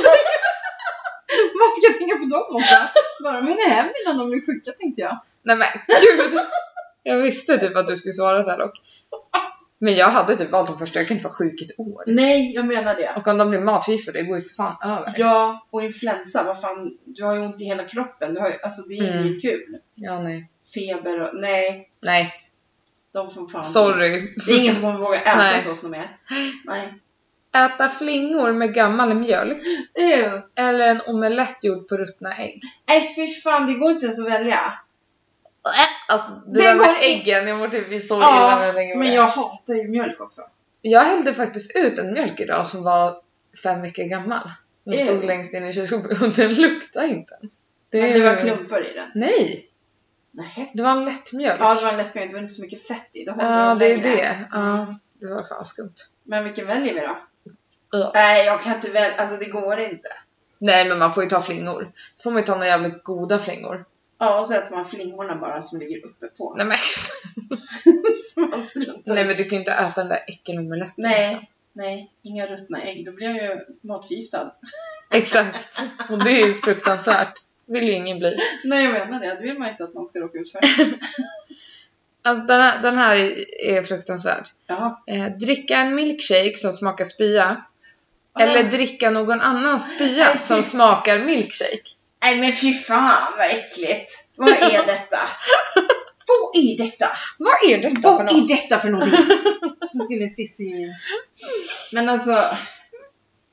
Speaker 1: Vad ska jag tänka på dem också? Bara men är hem innan de blir sjuka, tänkte jag.
Speaker 2: Nej men gud! Jag visste typ att du skulle svara så här dock. Men jag hade typ valt de första, jag kan inte vara sjuk i ett år.
Speaker 1: Nej, jag menar det.
Speaker 2: Och om de blir matförgiftade, det går ju för fan över.
Speaker 1: Ja, och influensa, vad fan. Du har ju ont i hela kroppen. Du har ju, alltså, det är
Speaker 2: Mm.
Speaker 1: inget kul.
Speaker 2: Ja nej.
Speaker 1: Feber och... Nej,
Speaker 2: Nej,
Speaker 1: de får fan...
Speaker 2: sorry.
Speaker 1: Det är ingen som kommer våga äta
Speaker 2: Nej.
Speaker 1: hos oss något mer. Nej.
Speaker 2: Äta flingor med gammal mjölk.
Speaker 1: Ew.
Speaker 2: Eller en omelett gjord på ruttna ägg.
Speaker 1: Nej, fy fan, det går inte ens att välja.
Speaker 2: Alltså det,
Speaker 1: Det
Speaker 2: där med
Speaker 1: går i-
Speaker 2: äggen, jag mår typ så illa när jag tänker
Speaker 1: Ja,
Speaker 2: på
Speaker 1: men
Speaker 2: det.
Speaker 1: jag hatar ju mjölk också.
Speaker 2: Jag hällde faktiskt ut en mjölk idag som var fem veckor gammal. Den
Speaker 1: Ew.
Speaker 2: stod längst in i kylskåpet och den luktade inte ens.
Speaker 1: Det men
Speaker 2: är
Speaker 1: det var
Speaker 2: ju-
Speaker 1: klumpar i den.
Speaker 2: Nej!
Speaker 1: Nej.
Speaker 2: Det var en lättmjölk.
Speaker 1: Ja, det var en lätt mjölk. Det var inte så mycket fett i. Då håller
Speaker 2: Ja,
Speaker 1: den
Speaker 2: det är
Speaker 1: längre.
Speaker 2: det. Ja, det var fan skumt.
Speaker 1: Mm. Men vilken väljer vi då?
Speaker 2: Ja.
Speaker 1: Nej, jag kan inte välja. Alltså, det går inte.
Speaker 2: Nej, men man får ju ta flingor. Får man ju ta några jävligt goda flingor.
Speaker 1: Ja, och så äter man flingorna bara som ligger uppe på.
Speaker 2: Nej men,
Speaker 1: så man struntar
Speaker 2: Nej,
Speaker 1: Nej.
Speaker 2: men du kan ju inte äta den där äckelomeletten. liksom.
Speaker 1: Nej, nej, inga ruttna ägg. Då blir jag ju matförgiftad.
Speaker 2: Exakt. Och det är ju fruktansvärt. vill ju ingen bli.
Speaker 1: Nej, jag menar det. Det vill man inte att man ska råka ut för.
Speaker 2: Alltså, den här, den här är- är fruktansvärd.
Speaker 1: Ja.
Speaker 2: Eh, dricka en milkshake som smakar spya. Eller dricka någon annans spya
Speaker 1: Nej,
Speaker 2: som
Speaker 1: fy.
Speaker 2: smakar milkshake.
Speaker 1: Nej, men fy fan vad äckligt. Vad är detta? Vad är detta?
Speaker 2: Vad är det
Speaker 1: Vad är detta för någonting? Så skulle Cissi... Men alltså,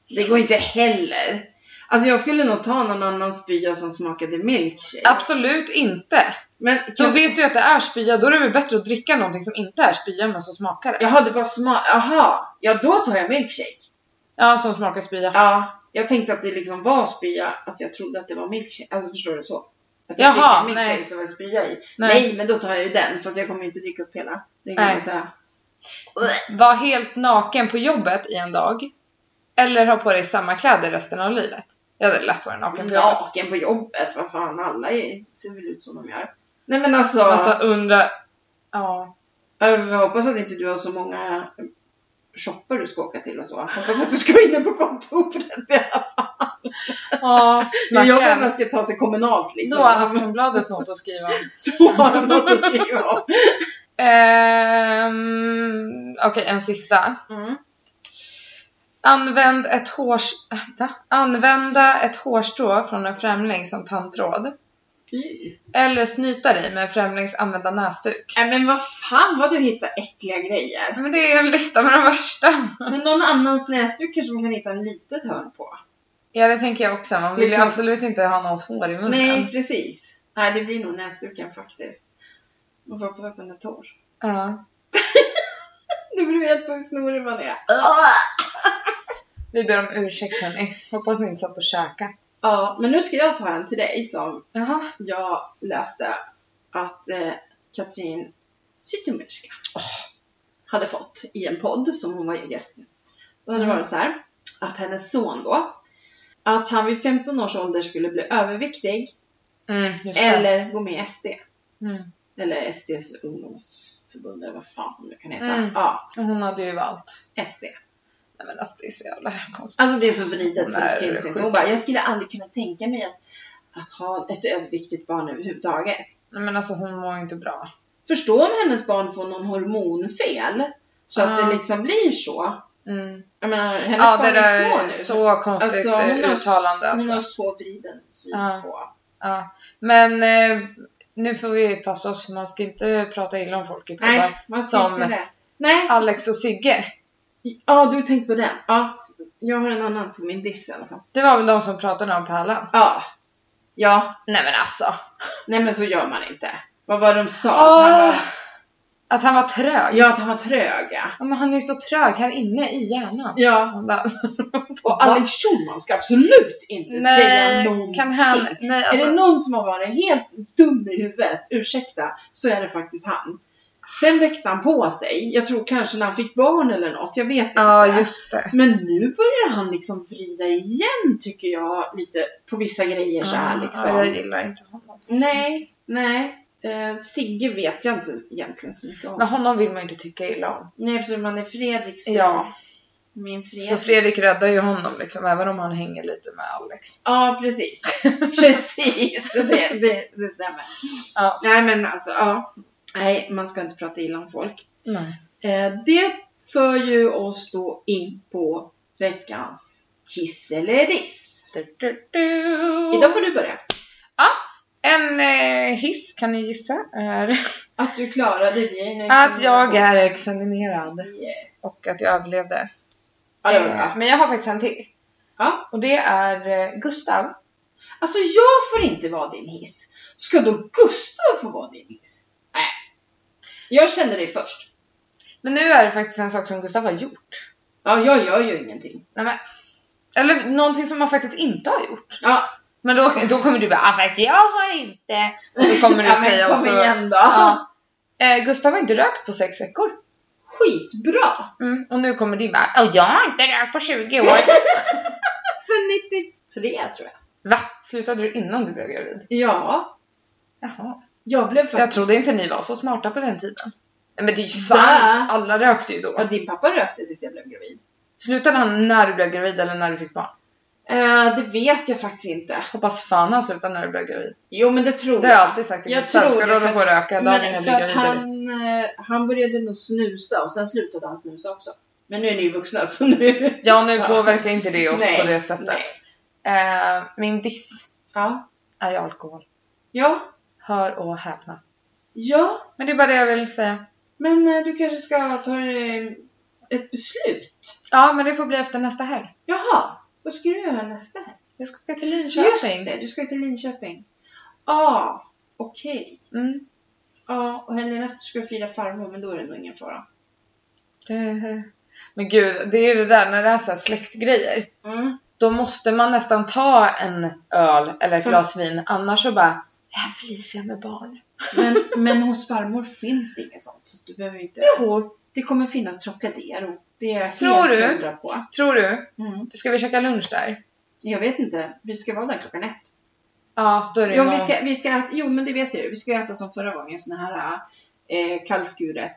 Speaker 1: det går inte heller. Alltså jag skulle nog ta någon annan spya som smakade milkshake.
Speaker 2: Absolut inte.
Speaker 1: Men
Speaker 2: Då
Speaker 1: jag,
Speaker 2: vet du att det är spya, då är det väl bättre att dricka någonting som inte är spya men som smakar det.
Speaker 1: Jaha, det bara smak... Aha, ja då tar jag milkshake.
Speaker 2: Ja, som smakar spya.
Speaker 1: Ja, jag tänkte att det liksom var spya, att jag trodde att det var milkshake. Alltså förstår du så? Att jag
Speaker 2: Jaha,
Speaker 1: Jaha, fick en milkshake
Speaker 2: nej.
Speaker 1: som var spya i.
Speaker 2: Nej.
Speaker 1: Nej. men då tar jag ju den, fast jag kommer ju inte dricka upp hela. Det liksom kan
Speaker 2: Nej.
Speaker 1: jag säga.
Speaker 2: Var helt naken på jobbet i en dag. Eller ha på dig samma kläder resten av livet. Jag hade lätt varit naken på jobbet.
Speaker 1: Naken på jobbet, vad fan, alla är, ser väl ut som de gör. Nej men alltså,
Speaker 2: Alltså undra... Ja.
Speaker 1: jag hoppas att inte du har så många shoppar du ska åka till och så. Jag hoppas att du ska vara inne på kontoret.
Speaker 2: Ja,
Speaker 1: Jag vet att man
Speaker 2: snacka.
Speaker 1: ska ta sig kommunalt liksom.
Speaker 2: Då har Aftonbladet något att skriva om.
Speaker 1: Då har de något att skriva om.
Speaker 2: Ehm, Okej, en sista. Använd ett hårs... äh, Va? Använda ett hårstrå från en främling som tandtråd.
Speaker 1: Fy.
Speaker 2: Eller snyta dig med en främlings använda näsduk.
Speaker 1: Nej men vad fan vad du hittar äckliga grejer.
Speaker 2: Men det är en lista med de värsta.
Speaker 1: Men någon annans näsduk kanske man kan hitta en litet hörn på.
Speaker 2: Ja, det tänker jag också. Man vill ju
Speaker 1: Liksom-
Speaker 2: absolut inte ha någons hår i munnen.
Speaker 1: Nej, precis. Nej, det blir nog näsduken faktiskt. Man får hoppas att den är torr.
Speaker 2: Ja.
Speaker 1: Det beror helt på hur snorig man är.
Speaker 2: Vi ber om ursäkt hörni. Hoppas ni inte satt och käkade.
Speaker 1: Ja, men nu ska jag ta en till dig som
Speaker 2: Jaha.
Speaker 1: jag läste att eh, Katrin Zytomierska hade fått i en podd som hon var gäst i. Då hade det
Speaker 2: Mm.
Speaker 1: varit så här att hennes son då, att han vid 15 års ålder skulle bli överviktig
Speaker 2: Mm, just det.
Speaker 1: eller gå med i SD.
Speaker 2: Mm.
Speaker 1: Eller SDs ungdomsförbund eller vad fan det kan heta.
Speaker 2: Mm.
Speaker 1: Ja,
Speaker 2: Och Hon hade ju valt.
Speaker 1: SD.
Speaker 2: Nej men alltså det är så jävla konstigt.
Speaker 1: Alltså det är så vridet så det
Speaker 2: Nej,
Speaker 1: finns
Speaker 2: det är
Speaker 1: inte.
Speaker 2: sjukt.
Speaker 1: Hon bara, jag skulle aldrig kunna tänka mig att, att ha ett överviktigt barn överhuvudtaget.
Speaker 2: Nej men alltså hon mår ju inte bra.
Speaker 1: förstå om hennes barn får någon hormonfel. Så att
Speaker 2: Ja.
Speaker 1: det liksom blir så.
Speaker 2: Mm.
Speaker 1: Jag menar, hennes
Speaker 2: Ja
Speaker 1: barn
Speaker 2: det där
Speaker 1: är små
Speaker 2: är
Speaker 1: nu.
Speaker 2: så konstigt
Speaker 1: Alltså, hon
Speaker 2: eh,
Speaker 1: har-
Speaker 2: uttalande
Speaker 1: Hon
Speaker 2: alltså.
Speaker 1: har så vriden syn
Speaker 2: Ja.
Speaker 1: på.
Speaker 2: Ja. Men eh, nu får vi passa oss, man ska inte prata illa om folk i podden.
Speaker 1: Nej, man
Speaker 2: Som-
Speaker 1: ska inte det. Nej,
Speaker 2: Alex och Sigge,
Speaker 1: ja du tänkte på den. Ja, jag har en annan på min diss i alla fall.
Speaker 2: det var väl de som pratade om Pärlan?
Speaker 1: Ja. Ja,
Speaker 2: Nej men alltså!
Speaker 1: nej men så gör man inte. Vad var det de sa? Att han
Speaker 2: Ah,
Speaker 1: var,
Speaker 2: att han var trög.
Speaker 1: ja, att han var tröga.
Speaker 2: Ja, men han är ju så trög här inne i hjärnan.
Speaker 1: Ja,
Speaker 2: Han bara,
Speaker 1: och Alex Schulman ska absolut inte säga
Speaker 2: nej,
Speaker 1: någonting.
Speaker 2: kan han, nej
Speaker 1: Är det
Speaker 2: alltså,
Speaker 1: någon som har varit helt dum i huvudet, ursäkta, så är det faktiskt han. Sen växte han på sig. Jag tror kanske när han fick barn eller något, jag vet
Speaker 2: ja
Speaker 1: inte.
Speaker 2: just det.
Speaker 1: Men nu börjar han liksom vrida igen tycker jag, lite på vissa grejer så här
Speaker 2: Ah, Ja,
Speaker 1: liksom.
Speaker 2: jag gillar inte honom.
Speaker 1: Nej, nej. Eh, Sigge vet jag inte egentligen så mycket om.
Speaker 2: Men honom vill man ju inte tycka illa om.
Speaker 1: Nej, eftersom han är Fredriks
Speaker 2: Ja.
Speaker 1: Min Fredrik.
Speaker 2: Så Fredrik räddar ju honom liksom, även om han hänger lite med Alex.
Speaker 1: Ja, precis. precis, det, det, det stämmer.
Speaker 2: Ja.
Speaker 1: Nej, men alltså, ja. Nej, man ska inte prata illa om folk.
Speaker 2: Nej.
Speaker 1: Eh, Det för ju oss då in på veckans hiss eller diss.
Speaker 2: Du, du, du.
Speaker 1: Idag får du börja.
Speaker 2: En eh, hiss, kan ni gissa, är
Speaker 1: Att du klarade dig nu.
Speaker 2: att jag är examinerad
Speaker 1: Yes.
Speaker 2: och att jag överlevde.
Speaker 1: Ja, det var bra.
Speaker 2: Eh, Men jag har faktiskt en till.
Speaker 1: Ja.
Speaker 2: Och det är eh, Gustav.
Speaker 1: Alltså jag får inte vara din hiss. Ska då Gustav få vara din hiss? Nej. Jag kände dig först.
Speaker 2: Men nu är det faktiskt en sak som Gustav har gjort.
Speaker 1: Ja, jag gör ju ingenting.
Speaker 2: Nej, men, eller någonting som man faktiskt inte har gjort.
Speaker 1: Ja,
Speaker 2: Men då, då kommer du bara ah, fast jag har inte. Och så kommer du
Speaker 1: ja men
Speaker 2: säga
Speaker 1: kom
Speaker 2: och så,
Speaker 1: igen då.
Speaker 2: Ja. Eh, Gustav har inte rökt på sex veckor.
Speaker 1: Skitbra!
Speaker 2: Mm. Och nu kommer din bara "Åh, jag har inte rökt på 20 år.
Speaker 1: Sen 93 tror jag.
Speaker 2: Va? Slutade du innan du blev gravid?
Speaker 1: Ja,
Speaker 2: Jaha.
Speaker 1: jag blev faktiskt...
Speaker 2: Jag trodde inte ni var så smarta på den tiden. Nej, men det är ju
Speaker 1: Va?
Speaker 2: sant! Alla rökte ju då.
Speaker 1: Ja, din pappa rökte tills jag blev gravid.
Speaker 2: Slutade han när du blev gravid eller när du fick barn?
Speaker 1: Eh, det vet jag faktiskt inte.
Speaker 2: Hoppas fan han slutade när du blev gravid.
Speaker 1: Jo, men det tror
Speaker 2: Det har jag alltid sagt till
Speaker 1: Jag
Speaker 2: Gustav.
Speaker 1: tror
Speaker 2: Ska
Speaker 1: det,
Speaker 2: du hålla på
Speaker 1: för
Speaker 2: och röka dagen
Speaker 1: Men
Speaker 2: innan
Speaker 1: för
Speaker 2: jag
Speaker 1: att
Speaker 2: blir gravid?
Speaker 1: han, eh, han började nog snusa och sen slutade han snusa också. Men nu är ni vuxna så nu...
Speaker 2: Ja, nu
Speaker 1: Ja.
Speaker 2: påverkar inte det oss
Speaker 1: Nej,
Speaker 2: på det sättet. Eh, min diss
Speaker 1: Ja.
Speaker 2: är ju alkohol.
Speaker 1: Ja.
Speaker 2: Hör och häpna.
Speaker 1: Ja.
Speaker 2: Men det är bara det jag vill säga.
Speaker 1: Men eh, du kanske ska ta eh, ett beslut?
Speaker 2: Ja, men det får bli efter nästa helg.
Speaker 1: Jaha. Vad ska du göra nästa?
Speaker 2: Jag ska åka till
Speaker 1: Just
Speaker 2: Linköping.
Speaker 1: det, du ska till Linköping. Ja, ah, okej.
Speaker 2: Mm.
Speaker 1: Ja, och helgen efter ska jag fira farmor, men då är det nog ingen fara.
Speaker 2: Det- Eh, Men gud, det är ju det där när det är så här släktgrejer.
Speaker 1: Mm.
Speaker 2: då måste man nästan ta en öl eller ett
Speaker 1: Fast-
Speaker 2: glas vin, annars så bara här fryser jag med barn.
Speaker 1: Men, men hos farmor finns det inget sånt, så du behöver inte...
Speaker 2: Jo,
Speaker 1: Det kommer finnas Trocadero. Det är jag
Speaker 2: Tror
Speaker 1: helt
Speaker 2: du?
Speaker 1: hundra på.
Speaker 2: tror du?
Speaker 1: Mm.
Speaker 2: Ska vi käka lunch där?
Speaker 1: Jag vet inte. Vi ska vara där klockan ett.
Speaker 2: Ja, då är det
Speaker 1: Jo,
Speaker 2: någon-
Speaker 1: vi ska, vi ska, äta- jo men det vet jag ju. Vi ska äta som förra gången, sån här eh, kallskuret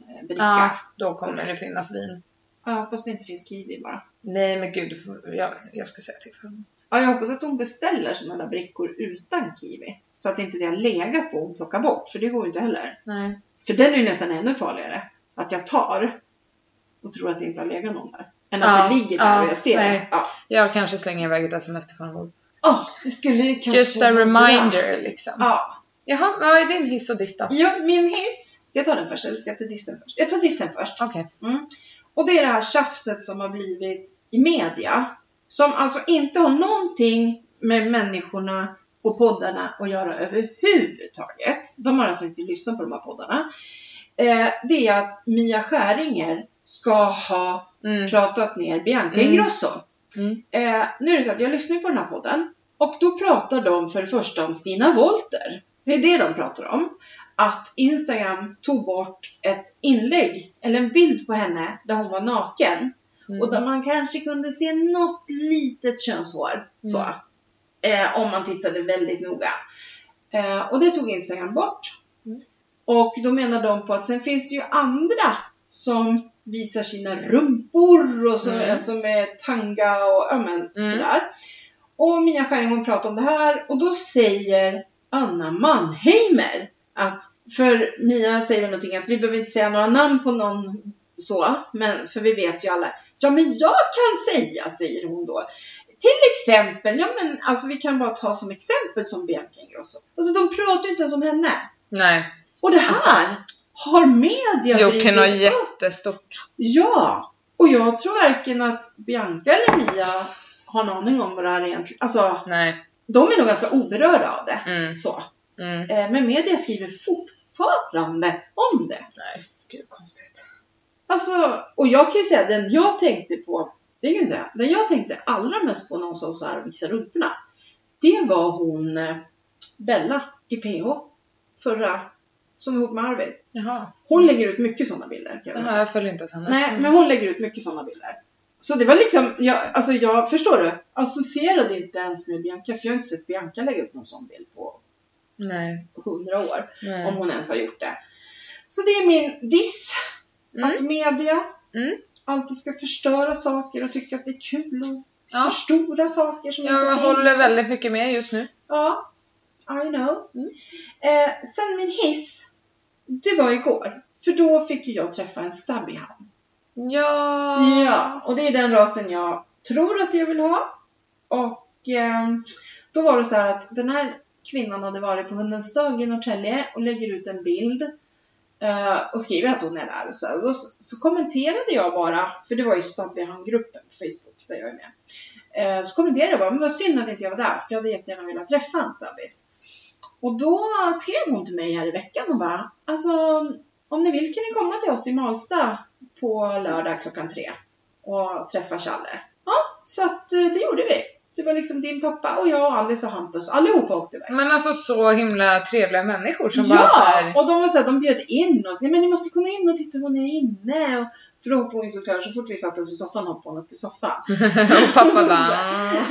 Speaker 1: eh,
Speaker 2: Ja,
Speaker 1: bricka.
Speaker 2: då kommer det finnas vin.
Speaker 1: Ja. Jag hoppas det inte finns kiwi bara.
Speaker 2: Nej men gud, du får- jag, jag ska säga till för honom.
Speaker 1: Ja, jag hoppas att hon beställer såna där brickor utan kiwi. Så att inte det har legat på och hon plockar bort, för det går ju inte heller.
Speaker 2: Nej.
Speaker 1: För den är ju nästan ännu farligare. Att jag tar och tror att det inte har legat någon där. Än att
Speaker 2: Ja,
Speaker 1: det ligger där
Speaker 2: ja,
Speaker 1: och jag ser det.
Speaker 2: nej.
Speaker 1: Ja.
Speaker 2: Jag kanske slänger iväg ett sms till farmor.
Speaker 1: Åh, det skulle ju kanske...
Speaker 2: Just a
Speaker 1: vara bra.
Speaker 2: reminder liksom.
Speaker 1: Ja,
Speaker 2: Jaha, vad är din hiss och diss då?
Speaker 1: Ja, min hiss. Ska jag ta den först eller ska jag ta dissen först? Jag tar dissen först.
Speaker 2: Okej.
Speaker 1: Och det är det här tjafset som har blivit i media. Som alltså inte har någonting med människorna och poddarna att göra överhuvudtaget. De har alltså inte lyssnat på de här poddarna. Eh, det är att Mia Skäringer ska ha
Speaker 2: Mm.
Speaker 1: pratat ner Bianca
Speaker 2: Mm.
Speaker 1: Ingrosso.
Speaker 2: Mm.
Speaker 1: Eh, nu är det så att jag lyssnar ju på den här podden Och då pratar de för det första om Stina Wolter. Det är det de pratar om. Att Instagram tog bort ett inlägg, eller en bild på henne, där hon var naken.
Speaker 2: Mm.
Speaker 1: Och där man kanske kunde se något litet könshår. Så.
Speaker 2: Mm.
Speaker 1: Eh, om man tittade väldigt noga. Eh, och det tog Instagram bort.
Speaker 2: Mm.
Speaker 1: Och då menar de på att sen finns det ju andra som visar sina rumpor och som,
Speaker 2: Mm.
Speaker 1: som är alltså tanga och ja, men,
Speaker 2: Mm.
Speaker 1: sådär. Och Mia Skäring hon pratar om det här och då säger Anna Mannheimer att, för Mia säger väl någonting att vi behöver inte säga några namn på någon så, men, för vi vet ju alla. Ja men jag kan säga, säger hon då. Till exempel, ja men alltså vi kan bara ta som exempel som Bianca Ingrosso. Alltså de pratar ju inte ens om henne.
Speaker 2: Nej,
Speaker 1: Och det här
Speaker 2: Alltså-
Speaker 1: har media
Speaker 2: gjort till något
Speaker 1: vridit upp.
Speaker 2: jättestort.
Speaker 1: Ja! Och jag tror varken att Bianca eller Mia har en aning om vad det här är egentligen. Alltså,
Speaker 2: Nej.
Speaker 1: de är nog ganska oberörda av det.
Speaker 2: Mm.
Speaker 1: Så.
Speaker 2: Mm.
Speaker 1: Eh, Men media skriver fortfarande om det.
Speaker 2: Nej, gud konstigt.
Speaker 1: Alltså, och jag kan ju säga den jag tänkte på, det kan jag säga, den jag tänkte allra mest på när hon sa så här och visade rumporna. Det var hon eh, Bella i PH, förra, som var ihop med Arvid.
Speaker 2: Jaha.
Speaker 1: Hon lägger ut mycket sådana bilder. Kan jag säga.
Speaker 2: Jaha, jag följer inte ens henne.
Speaker 1: Nej,
Speaker 2: Mm.
Speaker 1: men hon lägger ut mycket sådana bilder. Så det var liksom, jag, alltså jag, förstår du? Associerade inte ens med Bianca, för jag har inte sett Bianca lägga upp någon sån bild på
Speaker 2: Nej.
Speaker 1: hundra år.
Speaker 2: Nej.
Speaker 1: Om hon ens har gjort det. Så det är min diss. Att media
Speaker 2: Mm.
Speaker 1: alltid ska förstöra saker och tycka att det är kul att
Speaker 2: Ja.
Speaker 1: förstora saker som inte
Speaker 2: Jag
Speaker 1: finns.
Speaker 2: håller väldigt mycket med just nu.
Speaker 1: Ja, I know.
Speaker 2: Mm.
Speaker 1: Eh, sen min hiss, det var igår. För då fick ju jag träffa en stabbyhound.
Speaker 2: Ja.
Speaker 1: Ja, och det är den rasen jag tror att jag vill ha. Och ehm, då var det så här att den här kvinnan hade varit på Hundens dag i Norrtälje och lägger ut en bild eh, och skriver att hon är där. Och så, och då, s- så kommenterade jag bara, för det var ju Stabbyhamn-gruppen på Facebook där jag är med. Eh, så kommenterade jag bara, men vad synd att inte jag var där, för jag hade jättegärna velat träffa en stabbis. Och då skrev hon till mig här i veckan och bara, alltså om ni vill kan ni komma till oss i Malsta på lördag klockan tre och träffa Challe. Ja, så att eh, det gjorde vi. Det var liksom din pappa och jag och Alice och Hampus, allihopa åkte iväg.
Speaker 2: Men alltså så himla trevliga människor som bara
Speaker 1: ja!
Speaker 2: såhär...
Speaker 1: Och de var så här, de bjöd in oss. Nej men ni måste komma in och titta vad ni är inne. Och, för då hoppade hon ju såklart, så fort vi satte oss i soffan hoppade hon upp i soffan.
Speaker 2: Och pappa bara...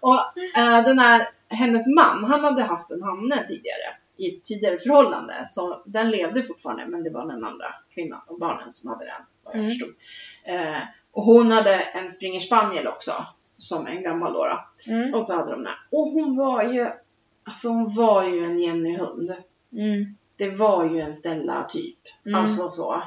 Speaker 1: Och eh, den här, hennes man, han hade haft en hanne tidigare. I ett tidigare förhållande. Så den levde fortfarande, men det var den andra kvinnan och barnen som hade den, vad jag
Speaker 2: Mm.
Speaker 1: förstod. Eh, och hon hade en springer spaniel också, som en gammal då. då.
Speaker 2: Mm.
Speaker 1: Och så hade de den. Och hon var ju, alltså hon var ju en Jenny-hund.
Speaker 2: Mm.
Speaker 1: Det var ju en Stella-typ.
Speaker 2: Mm.
Speaker 1: Alltså så.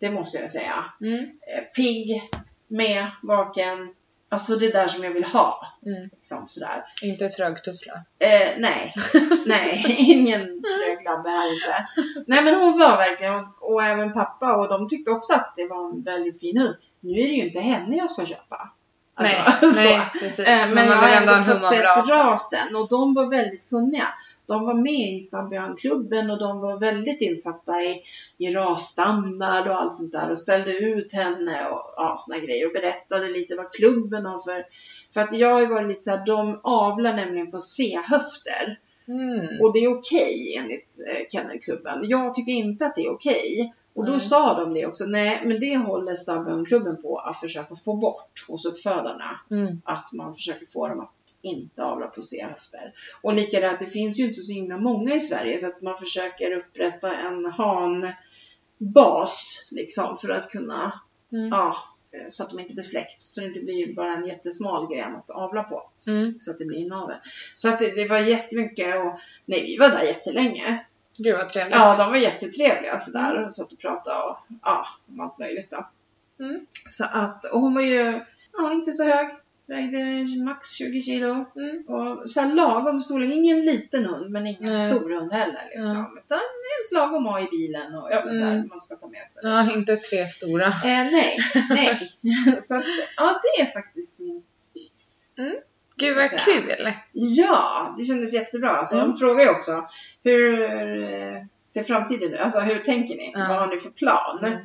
Speaker 1: Det måste jag säga.
Speaker 2: Mm.
Speaker 1: Eh, Pigg, med, vaken. Alltså det där som jag vill ha.
Speaker 2: Mm.
Speaker 1: Liksom sådär.
Speaker 2: Inte trögtuffla.
Speaker 1: Eh, nej, nej, ingen tröglabbe här inte. Nej men hon var verkligen, och även pappa och de tyckte också att det var en väldigt fin hund. Nu är det ju inte henne jag ska köpa. Alltså,
Speaker 2: nej,
Speaker 1: så.
Speaker 2: nej precis.
Speaker 1: Eh, Men
Speaker 2: Man
Speaker 1: jag
Speaker 2: vill
Speaker 1: har
Speaker 2: ändå ha en
Speaker 1: ändå fått
Speaker 2: hum av
Speaker 1: sett
Speaker 2: rasen.
Speaker 1: rasen och de var väldigt kunniga. De var med i Stambianklubben och de var väldigt insatta i, i rasstandard och allt sånt där och ställde ut henne och ja, såna grejer och berättade lite vad klubben har för... För att jag har ju varit lite så här, de avlar nämligen på C-höfter.
Speaker 2: Mm.
Speaker 1: Och det är okej enligt eh, kennelklubben. Jag tycker inte att det är okej. Och då
Speaker 2: Nej.
Speaker 1: sa de det också. Nej, men det håller Stambianklubben på att försöka få bort hos uppfödarna.
Speaker 2: Mm.
Speaker 1: Att man försöker få dem att inte avla på C-höfter. Och likadant, det finns ju inte så himla många i Sverige så att man försöker upprätta en hanbas liksom för att kunna,
Speaker 2: Mm.
Speaker 1: ja, eh, så att de inte blir släkt. Så det inte blir bara en jättesmal gren att avla på
Speaker 2: Mm.
Speaker 1: så att det blir inavel. Så att det, det var jättemycket och nej, vi var där jättelänge.
Speaker 2: Gud vad trevligt.
Speaker 1: Ja, de var jättetrevliga sådär och satt och pratade och ja, om allt möjligt då.
Speaker 2: Mm.
Speaker 1: Så att, och hon var ju, ja, inte så hög. Vägde max 20 kilo.
Speaker 2: Mm.
Speaker 1: Och så här lagom storlek, ingen liten hund men ingen
Speaker 2: Nej.
Speaker 1: stor hund heller liksom. Utan helt lagom att ha i bilen och ja, men så här,
Speaker 2: Mm.
Speaker 1: man ska ta med sig.
Speaker 2: Ja, inte tre stora.
Speaker 1: Eh, nej, nej. så att, ja, det är faktiskt min hiss.
Speaker 2: Gud
Speaker 1: Ska jag
Speaker 2: vad
Speaker 1: säga.
Speaker 2: kul!
Speaker 1: Ja, det kändes jättebra. Alltså,
Speaker 2: Mm.
Speaker 1: De frågar ju också, hur eh, ser framtiden ut? Alltså hur tänker ni?
Speaker 2: Ja.
Speaker 1: Vad har ni för plan?
Speaker 2: Mm.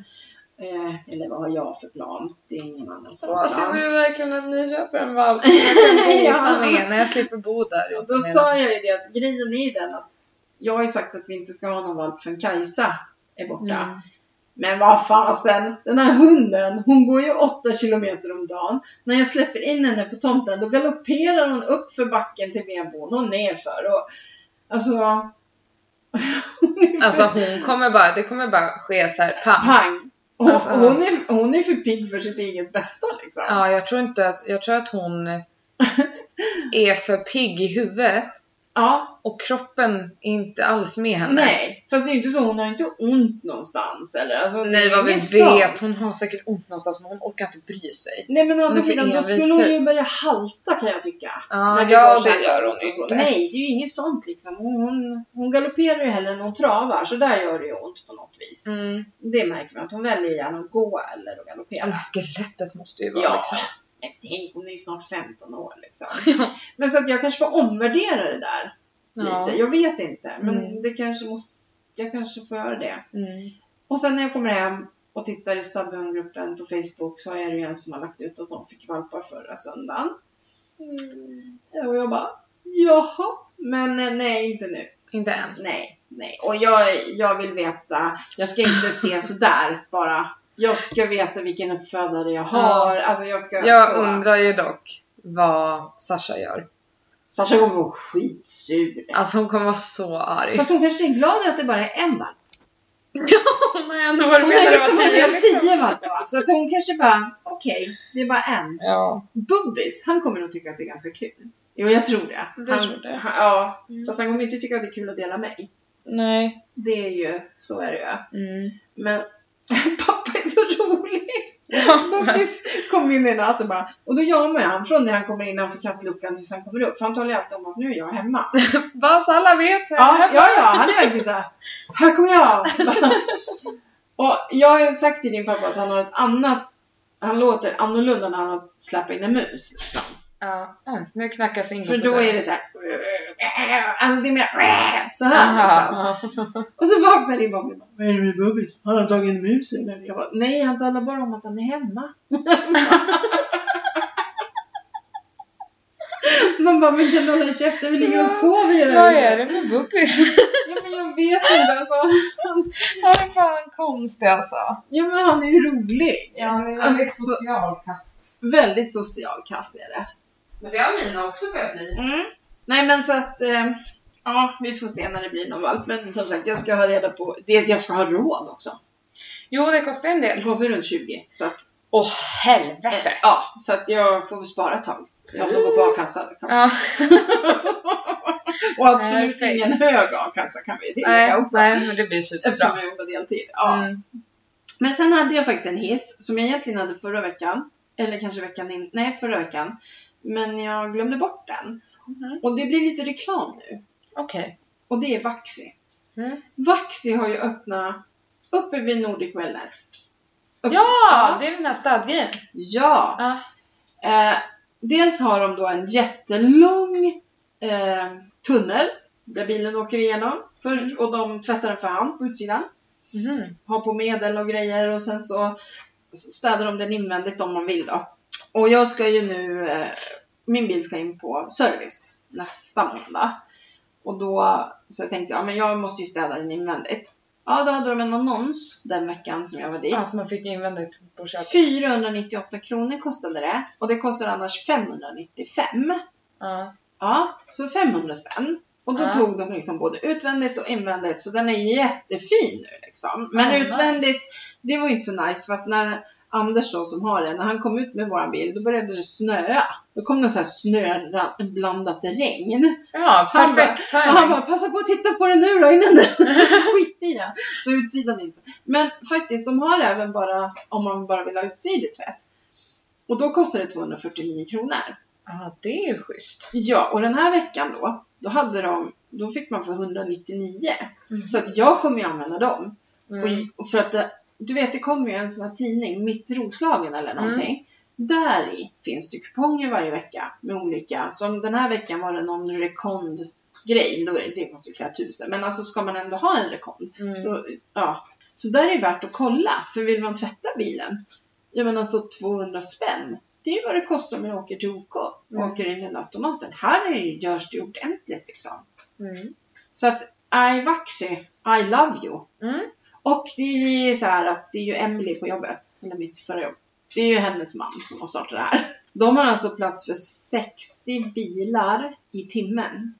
Speaker 1: Eh, eller vad har jag för plan? Det är ingen annans
Speaker 2: Åh, så jag
Speaker 1: plan.
Speaker 2: vill verkligen att ni köper en valp som jag kan
Speaker 1: Ja.
Speaker 2: gosa med när jag slipper bo där.
Speaker 1: Och
Speaker 2: utan
Speaker 1: då
Speaker 2: med
Speaker 1: sa jag ju det att grejen är ju den att jag har ju sagt att vi inte ska ha någon valp förrän Kajsa är
Speaker 2: den.
Speaker 1: borta.
Speaker 2: Mm.
Speaker 1: Men vad fasen, den här hunden, hon går ju 8 kilometer om dagen. När jag släpper in henne på tomten, då galopperar hon upp för backen till benbon och nerför. Och, alltså, Mm.
Speaker 2: Alltså hon kommer bara, det kommer bara ske så här pam.
Speaker 1: pang! Hon,
Speaker 2: Alltså, ja.
Speaker 1: hon, är, hon är för pigg för sitt eget bästa liksom.
Speaker 2: Ja, jag tror inte att, jag tror att hon är för pigg i huvudet
Speaker 1: Ja,
Speaker 2: och kroppen är inte alls med henne.
Speaker 1: nej. Fast det är ju inte så, hon har inte ont någonstans. Eller? Alltså, det
Speaker 2: Nej,
Speaker 1: är
Speaker 2: vad vi
Speaker 1: inget sånt.
Speaker 2: vet. Hon har säkert ont någonstans men hon orkar inte bry sig.
Speaker 1: Nej men å andra
Speaker 2: Men för
Speaker 1: sidan, då
Speaker 2: envis
Speaker 1: skulle hon
Speaker 2: typ.
Speaker 1: ju börja halta kan jag tycka.
Speaker 2: Ja,
Speaker 1: När vi
Speaker 2: ja
Speaker 1: går så här
Speaker 2: det gör hon
Speaker 1: och så.
Speaker 2: inte.
Speaker 1: Nej, det är ju inget sånt liksom. Hon, hon, hon galopperar ju hellre än hon travar, så där gör det ju ont på något vis.
Speaker 2: Mm.
Speaker 1: Det märker man, att hon väljer gärna att gå eller att
Speaker 2: Ja,
Speaker 1: galoppera.
Speaker 2: men skelettet måste ju vara
Speaker 1: Ja,
Speaker 2: liksom.
Speaker 1: men tänk, hon är ju snart 15 år liksom. Men så att jag kanske får omvärdera det där
Speaker 2: Ja.
Speaker 1: lite. Jag vet inte, men
Speaker 2: Mm.
Speaker 1: det kanske måste, jag kanske får göra det.
Speaker 2: Mm.
Speaker 1: Och sen när jag kommer hem och tittar i Stabben-gruppen på Facebook så är det ju en som har lagt ut att de fick valpar förra söndagen. Och jag bara, jaha, men eh, nej, inte nu.
Speaker 2: Inte än.
Speaker 1: Nej, nej. Och jag, jag vill veta, jag ska inte se sådär bara. Jag ska veta vilken uppfödare jag har. Alltså jag ska...
Speaker 2: Jag
Speaker 1: så.
Speaker 2: undrar ju dock vad Sasha gör.
Speaker 1: Sasha kommer vara skitsur.
Speaker 2: Alltså hon kommer vara så arg.
Speaker 1: Fast hon kanske är glad att det bara är en valp.
Speaker 2: Hon har ändå varit
Speaker 1: Hon
Speaker 2: med när
Speaker 1: är
Speaker 2: det var
Speaker 1: liksom
Speaker 2: tio.
Speaker 1: med
Speaker 2: Liksom.
Speaker 1: tio valpar. Så att hon kanske bara, okej, det är bara en.
Speaker 2: Ja.
Speaker 1: Bubbis, han kommer nog tycka att det är ganska kul. Jo, jag tror det.
Speaker 2: Du
Speaker 1: han,
Speaker 2: tror det?
Speaker 1: Han, ja,
Speaker 2: Mm.
Speaker 1: fast han kommer inte tycka att det är kul att dela mig.
Speaker 2: Nej.
Speaker 1: Det är ju, så är det ju.
Speaker 2: Mm.
Speaker 1: Men pappa är så rolig! Bubbis kom in i natt och bara, och då jagar jag han från när han kommer innanför kattluckan tills han kommer upp. För han talar ju alltid om att nu är jag hemma.
Speaker 2: Bara så alla vet.
Speaker 1: Ja, ja, ja, han är verkligen såhär, här kommer jag! och jag har ju sagt till din pappa att han har ett annat, han låter annorlunda när han släpper in en mus. liksom.
Speaker 2: ja. Ah, nu knackas in
Speaker 1: För då är det såhär, alltså det är mer så här. liksom. Och så vaknar din pappa och bara, vad är det med Bubbis? Har han tagit en mus eller? Jag bara, nej han talar bara om att han är hemma. Man bara, men kan du hålla käften? Vi ligger och sover i det
Speaker 2: Vad är
Speaker 1: här
Speaker 2: det med bubbis?
Speaker 1: Ja men jag vet inte alltså.
Speaker 2: Han är fan konstig alltså.
Speaker 1: Ja men han är ju rolig.
Speaker 2: han är
Speaker 1: väldigt
Speaker 2: social katt.
Speaker 1: Väldigt social katt är det.
Speaker 2: Men det har mina också börjat bli.
Speaker 1: Mm. Nej men så att, eh, ja vi får se när det blir någon valp. Men som sagt, jag ska ha reda på, det, jag ska ha råd också.
Speaker 2: Jo, det kostar en
Speaker 1: Det
Speaker 2: del.
Speaker 1: kostar runt 20. Så att,
Speaker 2: Åh,
Speaker 1: eh,
Speaker 2: helvete!
Speaker 1: ja, så att jag får väl spara ett tag. Jag som går på a-kassa liksom.
Speaker 2: Ja,
Speaker 1: Och absolut
Speaker 2: Perfekt.
Speaker 1: ingen hög a-kassa kan vi tillägga
Speaker 2: nej,
Speaker 1: också.
Speaker 2: nej, men det blir
Speaker 1: Eftersom
Speaker 2: superbra.
Speaker 1: jag jobbar deltid. Ja.
Speaker 2: Mm.
Speaker 1: Men sen hade jag faktiskt en hiss som jag egentligen hade förra veckan. Eller kanske veckan innan. Nej, förra veckan. Men jag glömde bort den.
Speaker 2: Mhm.
Speaker 1: Och det blir lite reklam nu.
Speaker 2: Okej.
Speaker 1: Och det är Vaxy.
Speaker 2: Mm.
Speaker 1: Vaxy har ju öppnat uppe vid Nordic Wellness. Upp-
Speaker 2: Ja, det är den här stadgrejen.
Speaker 1: Ja!
Speaker 2: Ja.
Speaker 1: Eh, dels har de då en jättelång eh, tunnel där bilen åker igenom. Först, och de tvättar den för hand på utsidan.
Speaker 2: Mhm.
Speaker 1: ha på medel och grejer och sen så städar de den invändigt om man vill då. Och jag ska ju nu, eh, min bil ska in på service nästa måndag. Och då så tänkte jag, men jag måste ju städa den invändigt. Ja, då hade de en annons den veckan som jag var dit.
Speaker 2: Ja, för man fick invändigt på köpet.
Speaker 1: 498 kronor kostade det och det kostar annars 595.
Speaker 2: Ja.
Speaker 1: Ja, så 500 spänn. Och då
Speaker 2: Ja.
Speaker 1: tog de liksom både utvändigt och invändigt, så den är jättefin nu liksom. Men
Speaker 2: Ja, nice.
Speaker 1: utvändigt, det var ju inte så nice för att när Anders då som har den, när han kom ut med våran bil, då började det snöa. Då kom det så här snöblandat regn.
Speaker 2: ja,
Speaker 1: Han bara-
Speaker 2: perfekt
Speaker 1: Och han
Speaker 2: timing.
Speaker 1: bara, passa på att titta på den nu då innan den skiter i den. Så utsidan inte. Men faktiskt, de har även bara, om man bara vill ha utsidig tvätt. Och då kostar det 249 kronor.
Speaker 2: Ja, det är ju schysst.
Speaker 1: Ja, och den här veckan då, då hade de, då fick man för 199.
Speaker 2: Mm.
Speaker 1: Så att jag kommer ju använda dem.
Speaker 2: Mm.
Speaker 1: Och, och för att det, du vet, det kommer ju en sån här tidning, Mitt i Roslagen eller någonting. Där i finns det kuponger varje vecka med olika, som den här veckan var det någon rekond grej, då är det, det kostar ju flera tusen. Men alltså ska man ändå ha en rekond,
Speaker 2: Mm.
Speaker 1: så, ja. Så där är det värt att kolla, för vill man tvätta bilen, jag menar så 200 spänn, det är ju vad det kostar om jag åker till OK och
Speaker 2: Mm.
Speaker 1: åker in till automaten. Här är det, ju- görs det ju ordentligt liksom.
Speaker 2: Mm.
Speaker 1: Så att I Vaxy, I love you.
Speaker 2: Mm.
Speaker 1: Och det är ju så här att det är ju Emily på jobbet, eller mitt förra jobb. Det är ju hennes man som har startat det här. De har alltså plats för 60 bilar i timmen.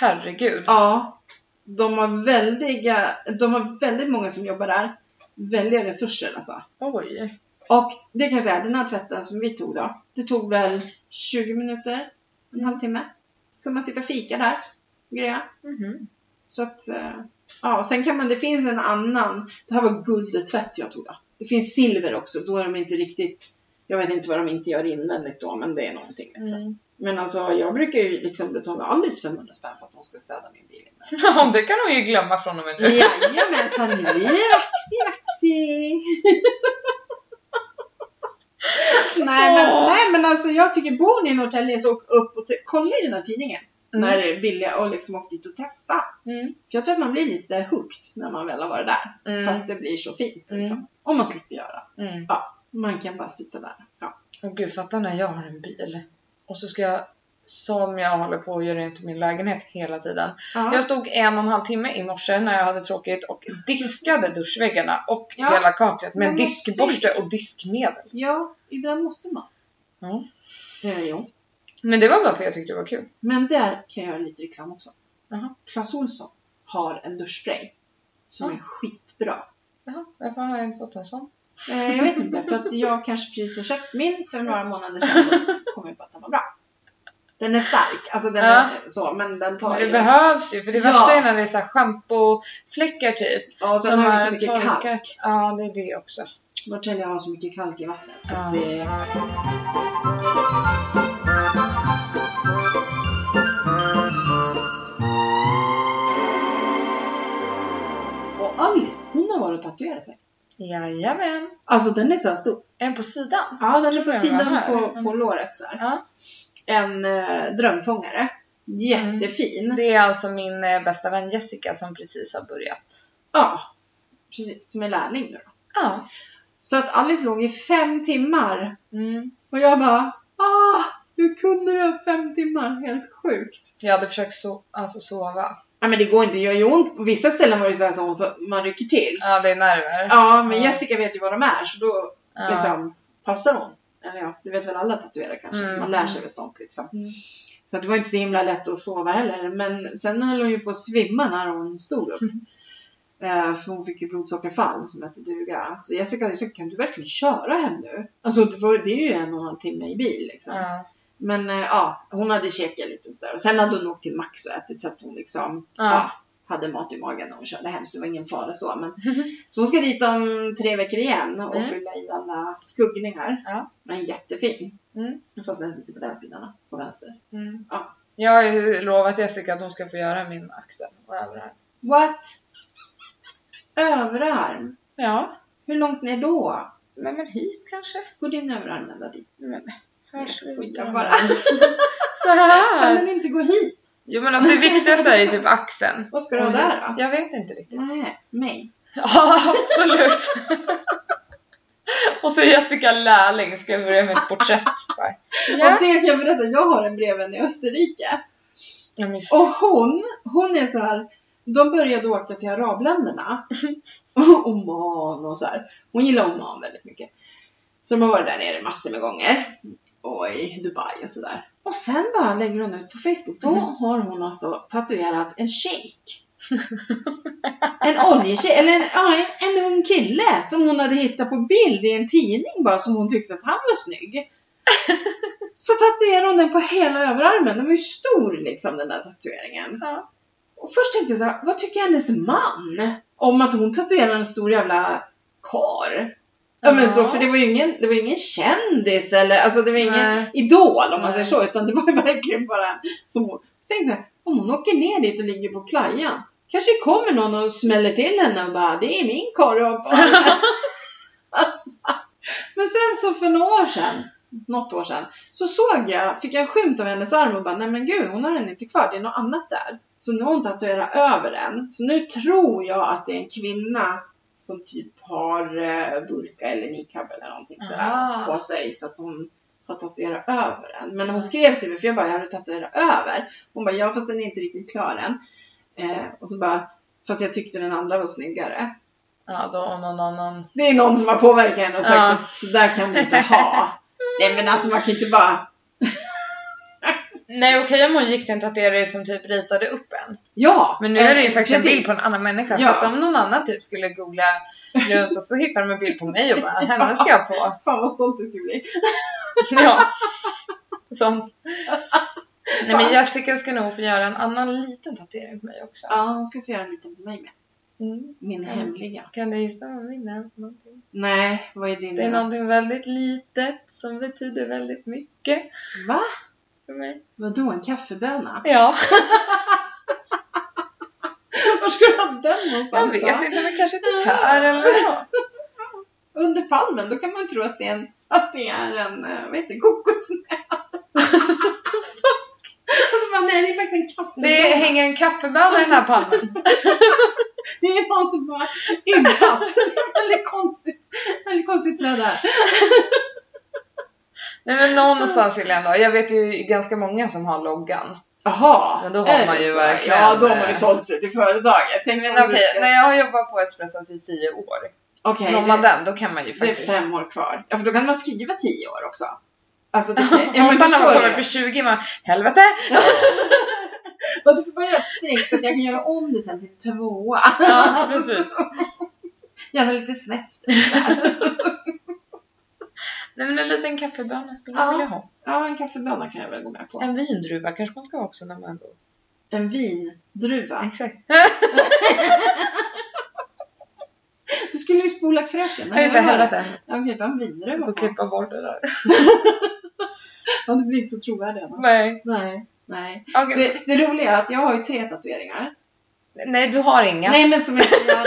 Speaker 2: Herregud.
Speaker 1: Ja. De har, väldiga, de har väldigt många som jobbar där. Väldiga resurser alltså.
Speaker 2: Oj.
Speaker 1: Och det kan jag säga, den här tvätten som vi tog då. Det tog väl 20 minuter, en halvtimme. Kunde man sitta och fika där och greja.
Speaker 2: Mhm.
Speaker 1: Så att, eh, ja, och sen kan man, det finns en annan, det här var guldtvätt jag tog då. Det finns silver också, då är de inte riktigt, jag vet inte vad de inte gör invändigt då, men det är någonting liksom.
Speaker 2: Mm.
Speaker 1: Men alltså jag brukar ju liksom betala Alice 500 spänn för att hon ska städa min bil.
Speaker 2: Ja, Mm. det kan hon ju glömma från och
Speaker 1: Mm.
Speaker 2: med nu.
Speaker 1: Jajamensan, nu är det vaxi, vaxi! nej, men,
Speaker 2: Åh.
Speaker 1: nej men alltså jag tycker bor ni i Norrtälje så åk upp och t- kolla i den här tidningen.
Speaker 2: Mm.
Speaker 1: När det är billiga och liksom åk dit och testa.
Speaker 2: Mm.
Speaker 1: För jag tror att man blir lite hooked när man väl har varit där. För
Speaker 2: Mm.
Speaker 1: att det blir så fint. Liksom.
Speaker 2: Mm.
Speaker 1: Och man slipper göra.
Speaker 2: Mm.
Speaker 1: Man kan bara sitta där. Ja.
Speaker 2: Och gud, fatta när jag har en bil. Och så ska jag, som jag håller på att göra rent i min lägenhet hela tiden.
Speaker 1: Ja.
Speaker 2: Jag stod en och en halv timme i morse när jag hade tråkigt och diskade duschväggarna och
Speaker 1: Ja.
Speaker 2: hela kaklet med
Speaker 1: Men vad
Speaker 2: diskborste och diskmedel.
Speaker 1: ja, ibland måste man. Eh,
Speaker 2: Ja.
Speaker 1: Ja, jo.
Speaker 2: Men det var bara för jag tyckte det var kul.
Speaker 1: Men där kan jag göra lite reklam också.
Speaker 2: Jaha.
Speaker 1: Clas Ohlson har en duschspray. Som
Speaker 2: Ja.
Speaker 1: är skitbra.
Speaker 2: Jaha, varför har jag inte fått en sån?
Speaker 1: Eh, jag vet inte, för att jag kanske precis har köpt min för några månader sedan. och Kom jag på att den var bra. Den är stark, alltså den
Speaker 2: Ja.
Speaker 1: är så, men den tar
Speaker 2: det
Speaker 1: ju...
Speaker 2: behövs ju, för det
Speaker 1: Ja.
Speaker 2: värsta är när det är så här schampofläckar typ.
Speaker 1: Ja, och sen har vi så
Speaker 2: har
Speaker 1: mycket kalk.
Speaker 2: Ja, det är det också.
Speaker 1: Norrtälje har så mycket kalk i vattnet. Så
Speaker 2: Ja.
Speaker 1: att det... Och Alice, hon har varit och tatuerat sig.
Speaker 2: Jajamän.
Speaker 1: Alltså den är så här stor.
Speaker 2: En på sidan.
Speaker 1: Ja, den är på
Speaker 2: Den
Speaker 1: sidan
Speaker 2: här. Mm.
Speaker 1: på, på låret så här.
Speaker 2: Ja.
Speaker 1: En eh, drömfångare. Jättefin.
Speaker 2: Det är alltså min eh, bästa vän Jessica som precis har börjat.
Speaker 1: Ja, precis. Som är lärling nu då.
Speaker 2: Ja.
Speaker 1: Så att Alice låg i fem timmar.
Speaker 2: Mm.
Speaker 1: Och jag bara, ah! Hur kunde du ha fem timmar? Helt sjukt.
Speaker 2: Jag hade försökt so- alltså sova.
Speaker 1: Nej men det går inte, det gör ju ont. På vissa ställen var det så här som hon sa, man rycker till.
Speaker 2: Ja, det är nerver.
Speaker 1: Ja, men
Speaker 2: Ja.
Speaker 1: Jessica vet ju vad de är så då
Speaker 2: Ja.
Speaker 1: liksom passar hon. Eller ja, det vet väl alla tatuerare kanske.
Speaker 2: Mm.
Speaker 1: Man lär sig väl sånt liksom.
Speaker 2: Mm.
Speaker 1: Så att det var inte så himla lätt att sova heller. Men sen höll hon ju på att svimma när hon stod upp. Eh, För hon fick ju blodsockerfall som hette duga. Så Jessica hade ju sagt, kan du verkligen köra hem nu? Alltså det, var, det är ju en och en halv timme i bil liksom.
Speaker 2: Ja.
Speaker 1: Men eh, ja, hon hade käkat lite och sådär. Och sen hade hon åkt till Max och ätit så att hon liksom
Speaker 2: Ja.
Speaker 1: ja, hade mat i magen när hon körde hem. Så det var ingen fara så. Men, så hon ska dit om tre veckor igen och
Speaker 2: Mm.
Speaker 1: fylla i alla skuggningar.
Speaker 2: Ja.
Speaker 1: Den är jättefin.
Speaker 2: Mm.
Speaker 1: Fast den sitter på den sidan då, på vänster.
Speaker 2: Mm.
Speaker 1: Ja.
Speaker 2: Jag har ju lovat Jessica att hon ska få göra min axel och överarm.
Speaker 1: What? Överarm?
Speaker 2: Ja,
Speaker 1: Hur långt ner då?
Speaker 2: men, men hit kanske?
Speaker 1: Går din överarm ända dit?
Speaker 2: Men, här
Speaker 1: Jag
Speaker 2: slutar
Speaker 1: skojar
Speaker 2: den.
Speaker 1: bara.
Speaker 2: Så
Speaker 1: Kan
Speaker 2: här!
Speaker 1: den inte gå hit?
Speaker 2: Jo men alltså det viktigaste är ju typ axeln.
Speaker 1: Vad ska du ha där Mm. då?
Speaker 2: Jag vet inte riktigt.
Speaker 1: Nej, mig.
Speaker 2: Ja, absolut. och så Jessica Lärling ska jag börja med ett porträtt. Bara,
Speaker 1: Och
Speaker 2: Ja.
Speaker 1: det kan jag berätta, jag har en brevvän i Österrike.
Speaker 2: Ja, men just-
Speaker 1: Och hon, hon är så här. De började åka till arabländerna. Och Oman och så här. Hon gillar Oman väldigt mycket. Så de har varit där nere massor med gånger. Och i Dubai och sådär. Och sen bara lägger hon ut på Facebook. Då har hon alltså tatuerat en shejk. En oljeshejk, eller en, ja, en, en ung kille som hon hade hittat på bild i en tidning bara som hon tyckte att han var snygg. Så tatuerade hon den på hela överarmen. Den var ju stor liksom den där tatueringen.
Speaker 2: Ja.
Speaker 1: Och först tänkte jag så här, vad tycker hennes man om att hon tatuerar en stor jävla kar? Ja men så,
Speaker 2: Ja.
Speaker 1: för det var ju ingen, det var ju ingen kändis eller, alltså det var ingen
Speaker 2: Nej.
Speaker 1: idol om man
Speaker 2: Nej.
Speaker 1: säger så, utan det var ju verkligen bara en som hon. Jag tänkte så här, om hon åker ner dit och ligger på playan, kanske kommer någon och smäller till henne och bara, det är min kar du har på armen." alltså, Men sen så för några år sedan, något år sedan, så såg jag, fick jag en skymt av hennes arm och bara, nej men gud, hon har den inte kvar, det är något annat där. Så nu har hon tatuerat över den. Så nu tror jag att det är en kvinna som typ har eh, burka eller niqab eller någonting
Speaker 2: Ah.
Speaker 1: sådär på sig så att hon har tatuerat över den. Men hon skrev till mig, för jag bara, jag har du tatuerat över? Hon bara, ja fast den är inte riktigt klar än. Eh, och så bara, fast jag tyckte den andra var snyggare.
Speaker 2: Ja, då om någon annan...
Speaker 1: Det är någon som har påverkat henne och sagt
Speaker 2: Ja.
Speaker 1: att sådär kan du inte ha. Nej men alltså man kan inte bara,
Speaker 2: Nej, okej om hon gick till en tatuerare som typ ritade upp en.
Speaker 1: ja!
Speaker 2: Men nu är det ju
Speaker 1: eh,
Speaker 2: faktiskt en bild
Speaker 1: precis.
Speaker 2: på en annan människa.
Speaker 1: Ja.
Speaker 2: För att om någon annan typ skulle googla runt och så hittar de en bild på mig och bara henne ska jag på.
Speaker 1: Fan vad stolt du skulle bli.
Speaker 2: Ja. Sånt. Nej men Jessica ska nog få göra en annan liten tatuering på mig också.
Speaker 1: Ja, hon ska få göra en liten på mig med.
Speaker 2: Mm.
Speaker 1: Min
Speaker 2: Ja.
Speaker 1: hemliga.
Speaker 2: Kan du gissa vad min är? Någonting.
Speaker 1: Nej, vad är din?
Speaker 2: Det är någonting väldigt litet som betyder väldigt mycket
Speaker 1: Va?
Speaker 2: för mig.
Speaker 1: Vadå, en kaffeböna?
Speaker 2: Ja,
Speaker 1: Var ska du ha den
Speaker 2: jag
Speaker 1: någonstans
Speaker 2: vet
Speaker 1: då?
Speaker 2: inte men kanske typ här eller så.
Speaker 1: Under palmen, då kan man tro att det är en, att det är en eh, vad heter det, kokosnöt. alltså, man, nej, det är faktiskt en kaffeböna.
Speaker 2: Det hänger en kaffebönna i den här pannan.
Speaker 1: Det är någon som har ympat. det är väldigt konstigt. Väldigt konstigt träd där.
Speaker 2: Nej men någonstans vill jag ändå. Jag vet ju ganska många som har loggan.
Speaker 1: Jaha.
Speaker 2: Men då har
Speaker 1: är
Speaker 2: man
Speaker 1: det
Speaker 2: ju
Speaker 1: så?
Speaker 2: verkligen,
Speaker 1: Ja, då har man ju
Speaker 2: eh,
Speaker 1: sålt sig till företaget. Tänk
Speaker 2: Men
Speaker 1: om du
Speaker 2: okej,
Speaker 1: ska-
Speaker 2: när jag har jobbat på Espressos i tio år,
Speaker 1: Okej,
Speaker 2: når
Speaker 1: det-
Speaker 2: man den då kan man ju
Speaker 1: Det är
Speaker 2: faktiskt...
Speaker 1: fem år kvar. Ja, för då kan man skriva tio år också. Alltså, det, ja, men
Speaker 2: Inte när man
Speaker 1: förstår
Speaker 2: kommer
Speaker 1: du?
Speaker 2: på 20, man helvete!
Speaker 1: Ja, du får bara göra ett streck så att jag kan göra om det sen till tvåa.
Speaker 2: Ja, precis.
Speaker 1: Gärna lite snett streck.
Speaker 2: Nej men en liten kaffebönna skulle
Speaker 1: Ja.
Speaker 2: jag vilja ha.
Speaker 1: Ja, en kaffebönna kan jag väl gå med på.
Speaker 2: En vindruva kanske man ska ha också när man går.
Speaker 1: En vindruva.
Speaker 2: Exakt.
Speaker 1: Du skulle ju spola kröken.
Speaker 2: Ja just det, helvete.
Speaker 1: Ja, okej, du har en
Speaker 2: Jag
Speaker 1: vindruva
Speaker 2: får
Speaker 1: på.
Speaker 2: klippa bort det där.
Speaker 1: Ja, du blir inte så trovärdig. Anna.
Speaker 2: Nej.
Speaker 1: Nej. Nej.
Speaker 2: Okej.
Speaker 1: Det, det roliga är att jag har ju tre tatueringar.
Speaker 2: Nej, du har inga.
Speaker 1: Nej, men som jag ska göra.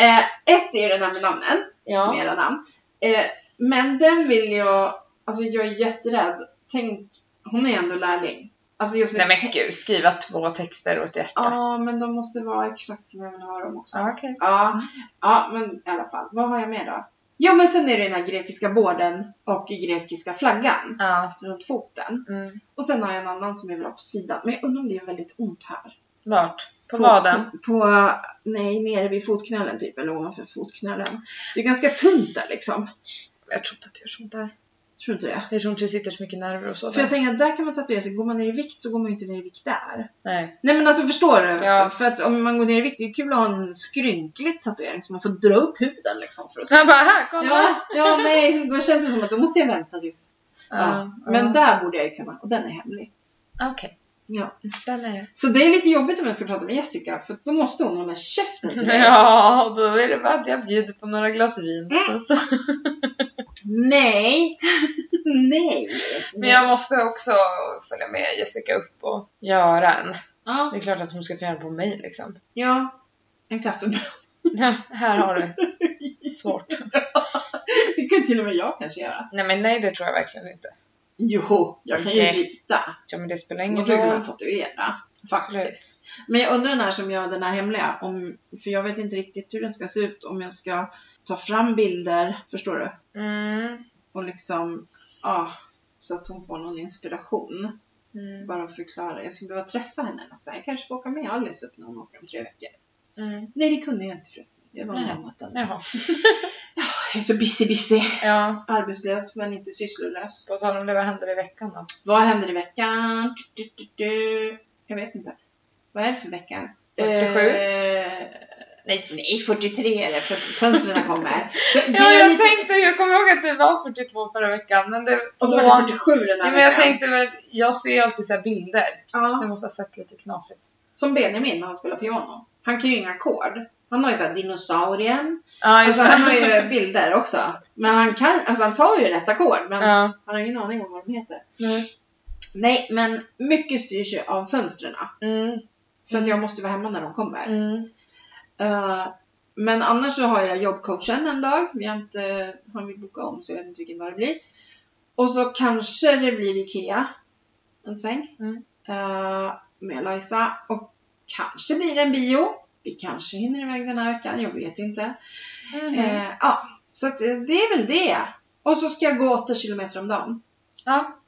Speaker 1: Eh, ett är ju den här med namnen.
Speaker 2: Ja.
Speaker 1: med era namn. Eh, men den vill jag, alltså jag är jätterädd. Tänk, hon är ändå lärling. Alltså just
Speaker 2: Nej men gud, skriva två texter åt hjärta.
Speaker 1: Ja, men de måste vara exakt som jag vill ha dem också.
Speaker 2: Ja, okej.
Speaker 1: Ja,
Speaker 2: Mm.
Speaker 1: ja, men i alla fall. Vad har jag med då? Ja, men sen är det den här grekiska båden och grekiska flaggan
Speaker 2: Ja.
Speaker 1: runt foten.
Speaker 2: Mm.
Speaker 1: Och sen har jag en annan som jag vill ha på sidan. Men jag undrar om det gör väldigt ont här.
Speaker 2: Vart? På vaden?
Speaker 1: På, nej, nere vid fotknölen typ, eller ovanför fotknölen. Det är ganska tunt där liksom.
Speaker 2: Jag tror inte att det gör sånt där.
Speaker 1: Tror du inte det?
Speaker 2: Jag tror inte det sitter så mycket nerver och så
Speaker 1: För jag
Speaker 2: där.
Speaker 1: tänker att där kan man tatuera sig. Går man ner i vikt så går man ju inte ner i vikt där.
Speaker 2: Nej.
Speaker 1: Nej men alltså förstår du?
Speaker 2: Ja.
Speaker 1: För att om man går ner i vikt, det är kul att ha en skrynklig tatuering så man får dra upp huden liksom för att se.
Speaker 2: Jag bara, här, kolla!
Speaker 1: Ja, ja, nej, då känns det som att då måste jag vänta tills...
Speaker 2: Ja, ja.
Speaker 1: Men där borde jag ju kunna, och den är hemlig.
Speaker 2: Okej,
Speaker 1: Ja.
Speaker 2: den är
Speaker 1: Så det är lite jobbigt om jag ska prata med Jessica, för då måste hon hålla käften till mig.
Speaker 2: Ja, då är det bara att jag bjuder på några glas vin. Så, så.
Speaker 1: Nej! nej!
Speaker 2: Men jag måste också följa med Jessica upp och göra en.
Speaker 1: Ja,
Speaker 2: Det är klart att hon ska få göra en på mig liksom.
Speaker 1: ja. En kaffebön.
Speaker 2: Ja, här har du. Svårt.
Speaker 1: Det kan till och med jag kanske göra.
Speaker 2: Nej men nej, det tror jag verkligen inte.
Speaker 1: Jo, jag kan ju
Speaker 2: Okej.
Speaker 1: rita.
Speaker 2: Ja men det spelar
Speaker 1: Man
Speaker 2: ingen
Speaker 1: skulle kunna
Speaker 2: roll.
Speaker 1: tatuera.
Speaker 2: Absolut.
Speaker 1: Faktiskt. Men jag undrar den här som gör den här hemliga, om, för jag vet inte riktigt hur den ska se ut, om jag ska ta fram bilder, förstår du?
Speaker 2: Mm.
Speaker 1: Och liksom, ja, så att hon får någon inspiration.
Speaker 2: Mm.
Speaker 1: Bara förklara, jag skulle behöva träffa henne nästan. Jag kanske får åka med Alice upp när hon åker om tre veckor.
Speaker 2: Mm.
Speaker 1: Nej, det kunde jag inte förresten. Jag var
Speaker 2: Nej.
Speaker 1: med annat än.
Speaker 2: Jaha.
Speaker 1: Jag är så busy, busy.
Speaker 2: Ja,
Speaker 1: Arbetslös, men inte sysslolös.
Speaker 2: på tal om det, vad händer i veckan då?
Speaker 1: Vad händer i veckan? Du, du, du, du. Jag vet inte. Vad är det för veckans?
Speaker 2: 47?
Speaker 1: Eh,
Speaker 2: Nej,
Speaker 1: Nej, 43 är det, för fönstren kommer. Så det
Speaker 2: Ja,
Speaker 1: är
Speaker 2: jag
Speaker 1: lite...
Speaker 2: tänkte, jag kommer ihåg att det var 42 förra veckan, men det
Speaker 1: Och så var det 47 den
Speaker 2: Nej,
Speaker 1: här
Speaker 2: men jag
Speaker 1: veckan.
Speaker 2: tänkte väl, jag ser ju alltid så här bilder, så
Speaker 1: ja.
Speaker 2: jag måste ha sett lite knasigt.
Speaker 1: Som Benjamin när han spelar piano. Han kan ju inga ackord. Han har ju såhär dinosaurien.
Speaker 2: Ja, just
Speaker 1: Alltså han har
Speaker 2: det.
Speaker 1: ju bilder också. Men han kan, alltså han tar ju rätt ackord. Men
Speaker 2: Ja.
Speaker 1: han har ingen aning om vad de heter.
Speaker 2: Nej.
Speaker 1: Nej, men mycket styrs ju av fönstren.
Speaker 2: Mm,
Speaker 1: För att jag måste vara hemma när de kommer.
Speaker 2: mm,
Speaker 1: Eh, men annars så har jag jobbcoachen en dag. Vi har inte, han vill boka om så jag vet inte vilken dag det blir. Och så kanske det blir IKEA en sväng
Speaker 2: Mm.
Speaker 1: eh, med Lajsa. Och kanske blir det en bio. Vi kanske hinner iväg den här veckan, jag vet inte.
Speaker 2: Mhm.
Speaker 1: Eh, ja, så att, eh, det är väl det. Och så ska jag gå 8 kilometer om dagen.
Speaker 2: Ja,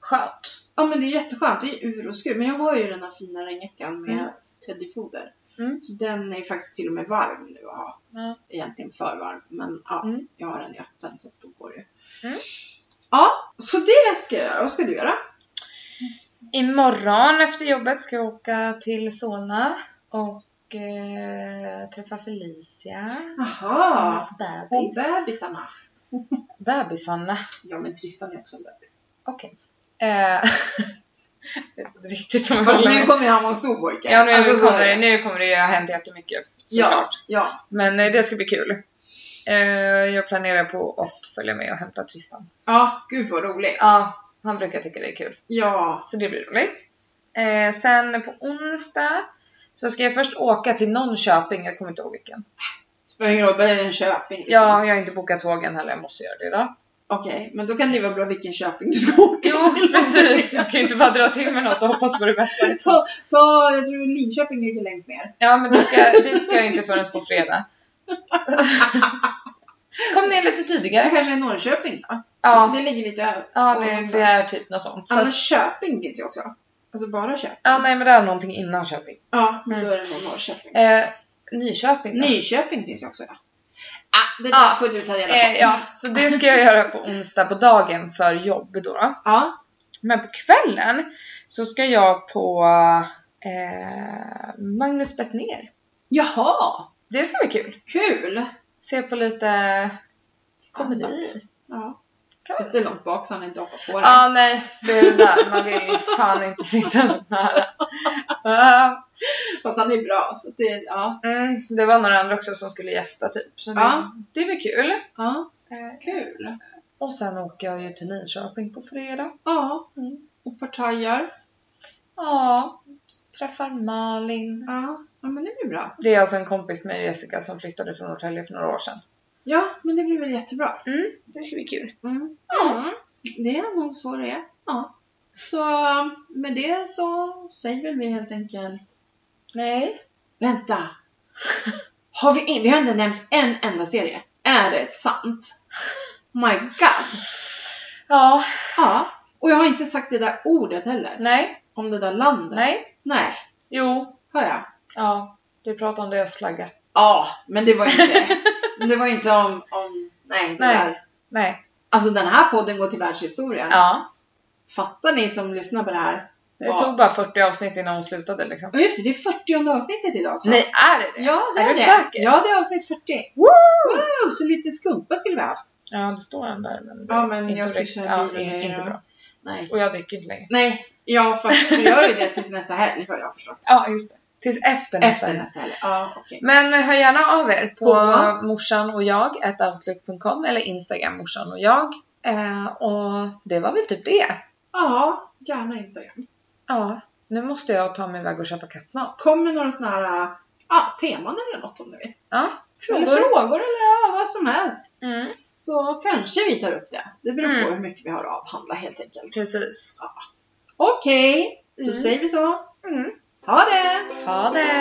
Speaker 2: skönt.
Speaker 1: Ja men det är jätteskönt, det är ur och skur. Men jag har ju den här fina regnjackan med
Speaker 2: Mm.
Speaker 1: teddyfoder.
Speaker 2: Mm.
Speaker 1: Så den är ju faktiskt till och med varm nu att ha.
Speaker 2: Ja.
Speaker 1: Egentligen för varm, men ja,
Speaker 2: Mm.
Speaker 1: jag har den i öppen så då går det ju.
Speaker 2: Mm.
Speaker 1: Ja, så det ska jag göra. Vad ska du göra?
Speaker 2: Imorgon efter jobbet ska jag åka till Solna och eh, träffa Felicia,
Speaker 1: Jaha!
Speaker 2: hennes
Speaker 1: Och
Speaker 2: bebis.
Speaker 1: bebisarna.
Speaker 2: Bebisarna.
Speaker 1: Ja men Tristan är också en bebis.
Speaker 2: Okej. Eh, jag vet inte riktigt om jag
Speaker 1: Fast
Speaker 2: håller
Speaker 1: nu
Speaker 2: med.
Speaker 1: kommer ju han vara en stor pojke.
Speaker 2: Ja, nu,
Speaker 1: Alltså, så
Speaker 2: kommer
Speaker 1: är
Speaker 2: det, nu kommer det ju ha hänt jättemycket
Speaker 1: Ja,
Speaker 2: såklart.
Speaker 1: ja.
Speaker 2: Men eh, det ska bli kul. Eh, jag planerar på att följa med och hämta Tristan.
Speaker 1: ja, gud vad roligt.
Speaker 2: Ja, han brukar tycka det är kul.
Speaker 1: Ja.
Speaker 2: Så det blir roligt. Eh, sen på onsdag så ska jag först åka till någon Köping, jag kommer inte ihåg vilken.
Speaker 1: Spelar ingen roll, bara det är en Köping liksom.
Speaker 2: Ja, jag har inte bokat tågen heller, jag måste göra det idag.
Speaker 1: Okej, men då kan det ju vara bra vilken Köping du ska åka
Speaker 2: Jo,
Speaker 1: till.
Speaker 2: precis! Jag kan ju inte bara dra till med något och hoppas på det bästa. liksom.
Speaker 1: Ta, ta, jag tror Linköping ligger längst ner.
Speaker 2: Ja, men dit ska, dit ska jag inte förrän på fredag. Kom ner lite
Speaker 1: Det
Speaker 2: tidigare.
Speaker 1: kanske är Norrköping då?
Speaker 2: Ja,
Speaker 1: Det ligger lite över.
Speaker 2: ja det, det är typ något sånt. Så,
Speaker 1: Annars Köping finns ju också. Alltså bara Köping.
Speaker 2: ja, nej, men det är någonting innan Köping.
Speaker 1: Ja, men då är det nog Norrköping.
Speaker 2: Eh, Nyköping då?
Speaker 1: Nyköping finns ju också ja. Ah, det där
Speaker 2: Mm. Ja,
Speaker 1: får du ta reda på.
Speaker 2: Eh, ja, så det ska jag göra på onsdag på dagen för jobb då. då.
Speaker 1: Ja.
Speaker 2: Men på kvällen så ska jag på eh, Magnus Bettner.
Speaker 1: Jaha,
Speaker 2: Det ska bli kul.
Speaker 1: kul!
Speaker 2: Se på lite komedi.
Speaker 1: Ja.
Speaker 2: Kan man-
Speaker 1: Sitter långt bak så han inte hoppar på dig.
Speaker 2: Ja, ah, nej, det är det där. Man vill fan inte sitta något nära. Ah,
Speaker 1: Fast han är bra så det, ja.
Speaker 2: mm, det var några andra också som skulle gästa typ. Så det,
Speaker 1: Ja.
Speaker 2: det blir kul.
Speaker 1: ja.
Speaker 2: Eh,
Speaker 1: Kul!
Speaker 2: och sen åker jag ju till Nyköping på fredag.
Speaker 1: Ja.
Speaker 2: Mm.
Speaker 1: Och partajar.
Speaker 2: Ja, träffar Malin.
Speaker 1: Ja. ja, men det blir bra.
Speaker 2: Det är alltså en kompis med Jessica som flyttade från Norrtälje för några år sedan.
Speaker 1: Ja, men det blir väl jättebra.
Speaker 2: Det ska bli kul.
Speaker 1: Mm. Mm. Det är nog så det är. Ja. Så med det så säger väl vi helt enkelt...
Speaker 2: Nej.
Speaker 1: Vänta! Har vi, in, vi har inte nämnt en enda serie. Är det sant? My God!
Speaker 2: Ja.
Speaker 1: Ja. Och jag har inte sagt det där ordet heller.
Speaker 2: Nej.
Speaker 1: Om det där landet.
Speaker 2: Nej.
Speaker 1: Nej.
Speaker 2: Jo.
Speaker 1: Hör jag?
Speaker 2: Ja. Du pratade om deras flagga.
Speaker 1: Ja, men det var inte, det var inte om, om nej, det
Speaker 2: Nej.
Speaker 1: där.
Speaker 2: Nej.
Speaker 1: Alltså den här podden går till världshistorien.
Speaker 2: Ja.
Speaker 1: Fattar ni som lyssnar på det här?
Speaker 2: Det
Speaker 1: Ja.
Speaker 2: tog bara 40 avsnitt innan hon slutade liksom.
Speaker 1: Ja just det, det är 40 avsnittet idag också.
Speaker 2: Nej, är det det?
Speaker 1: Ja, det är,
Speaker 2: Är du
Speaker 1: det.
Speaker 2: säker?
Speaker 1: Ja, det är avsnitt 40.
Speaker 2: Woo!
Speaker 1: Wow, så lite skumpa skulle vi ha haft.
Speaker 2: Ja, det står en där. Men det
Speaker 1: Ja,
Speaker 2: är
Speaker 1: men
Speaker 2: inte
Speaker 1: jag ska
Speaker 2: riktigt-
Speaker 1: köra
Speaker 2: ja,
Speaker 1: bil
Speaker 2: in,
Speaker 1: och
Speaker 2: inte
Speaker 1: grejer,
Speaker 2: bra.
Speaker 1: Nej.
Speaker 2: Och jag dricker inte längre.
Speaker 1: Nej, ja fast du gör ju det tills nästa helg har jag förstått.
Speaker 2: Ja, just det. Tills efter nästa.
Speaker 1: Efter nästa helg. Ja, okej.
Speaker 2: Men hör gärna av er på
Speaker 1: På-
Speaker 2: morsan och jag, outlook.com eller Instagram morsan och jag. Eh, och det var väl typ det.
Speaker 1: Ja, gärna Instagram.
Speaker 2: Ja, nu måste jag ta mig iväg och köpa kattmat.
Speaker 1: Kom med några sådana här ja, teman eller något om du vill.
Speaker 2: Ja,
Speaker 1: Eller
Speaker 2: frågor.
Speaker 1: frågor eller ja, vad som helst.
Speaker 2: Mm,
Speaker 1: Så kanske vi tar upp det. Det beror på
Speaker 2: Mm.
Speaker 1: hur mycket vi har att avhandla helt enkelt.
Speaker 2: precis.
Speaker 1: Okej, då
Speaker 2: Mm.
Speaker 1: säger vi så.
Speaker 2: Mm.
Speaker 1: Ha det!
Speaker 2: Ha det!